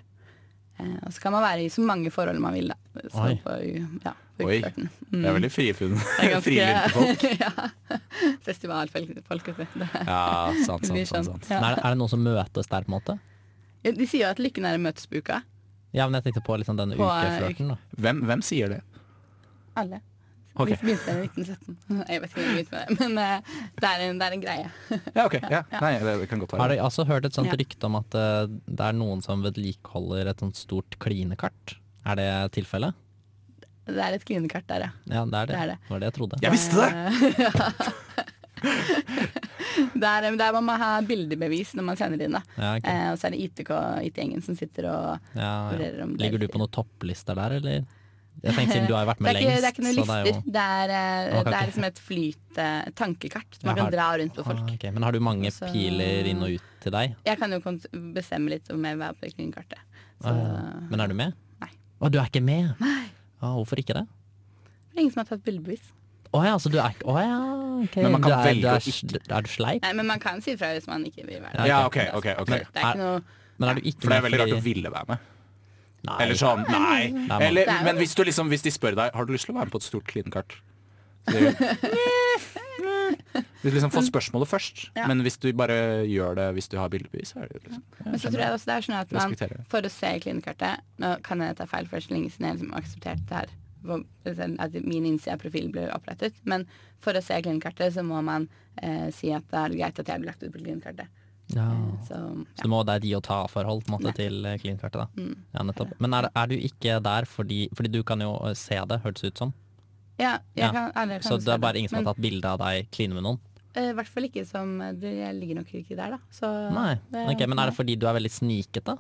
Eh, og så kan man være i så mange forhold man vil, da. Så Oi. på, u- ja, på Oi. ukeflørten. Det er veldig Det er friflytende ganske- folk. ja. Festivalfolk, vet du. Det er- Ja, sant, det blir sant, sant, sånn. sant. Ja. Men Er, det, er det noen som møtes der, på en måte? Ja, De sier jo at lykken er en møtesbuka. Ja, men jeg tenkte på liksom denne På, eh, ukeflørten, da. Hvem, sier det? Alle. Ok. Vi begynte med det i 1917. Jeg vet ikke om vi begynte med det, men eh, det er en, det er en greie. Ja, ok. Ja. Nei, det, det kan godt Har være. dere altså hørt et sånt Ja. rykte om at eh, det er noen som vedlikeholder et sånt stort klinekart? Er det tilfellet? Det er et klinekart der, ja. Ja, det er det. Det er det. var det jeg trodde. Jeg visste det! Eh, ja. det er, men det er man må ha bildebevis når man sender inn, da. Ja, ok. Eh, og så er det ITK, IT-gjengen som sitter og Ja, vurderer ja. om Ligger du på noen topplister der, eller? Jeg tenkte siden du har jo vært med det er ikke, lengst. Det er ikke noen så lister. jo- Det er, eh, Man kan det ikke- er liksom et flyt eh, tankekart som Ja, man kan har- dra rundt på folk. Ah, ok. Men har du mange Så- piler inn og ut til deg? Jeg kan jo kont- bestemme litt om jeg vil være på det kringkartet. Så Ah, ja. Men er du med? Nei. Å, du er ikke med? Nei. hvorfor ikke det? det er ingen som har tatt bildebevis. Å ja, så du er ikke Å ja, ok. Men man kan du er, velge du å er, ikke Er du sleip? Nei, men man kan si ifra hvis man ikke vil være Ja, der. Ja, ok, ok, ok. Det er ikke noe Men er du ikke For det er med veldig rart å fordi- ville være med. Eller sånn, nei. man- Eller, Det er jo- men hvis, du liksom, hvis de spør deg Har du lyst til å være med på et stort klinekart, Så sier du Du liksom får spørsmålet først, Ja. men hvis du bare gjør det hvis du har bildebevis, så er det jo liksom Men så tror jeg også det er sånn at Respekterer man, det. for å se klinekartet Nå kan jeg ta feil for så lenge siden jeg liksom har akseptert det her hvor- at min innside av profil blir opprettet. Men for å se klinekartet så må man eh, si at det er greit at jeg blir lagt ut på klinekartet. Ja. Så Så det må være et gi og ta-forhold på en måte til eh, klinkartet, da. Mm. Ja, nettopp. Men er, er du ikke der fordi Fordi du kan jo eh, se det, hørtes det ut som. ja, jeg kan, alle kan Så det er bare svare. ingen som Men, har tatt bilde av deg kline med noen? eh, I hvert fall ikke som det, Jeg ligger nok ikke der, da. Så Nei. det- Ok, men er det fordi du er veldig snikete?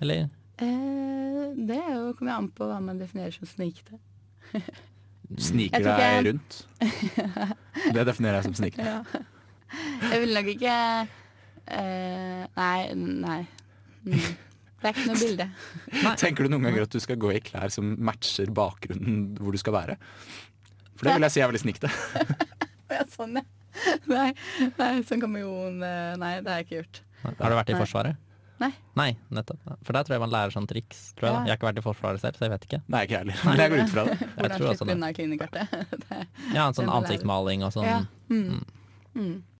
Eller? Eh, det er jo, kommer jo an på hva man definerer som snikete. Mm. Sniker Jeg tror deg ikke- rundt. Det definerer jeg som sniker. Ja. Jeg vil nok ikke eh, Nei, nei. Mm. Det er ikke noe bilde. Tenker du noen ganger at du skal gå i klær som matcher bakgrunnen hvor du skal være? For det vil jeg si er veldig snikte. Å ja, sånn, ja. Nei, nei, sånn kommer jo en, eh, Nei, det har jeg ikke gjort. Har du vært i Nei. Forsvaret? Nei. Nei, nettopp. For der tror jeg man lærer sånn triks. Tror jeg, Ja. da. jeg har ikke vært i Forsvaret selv, så jeg vet ikke. Nei, ikke jeg heller. Men jeg går ut fra det. Jeg Hvordan tror slipper også vi det. unna klinekartet? Det- Ja, en sånn det må lære. ansiktsmaling og sånn. Ja. Mm. Mm.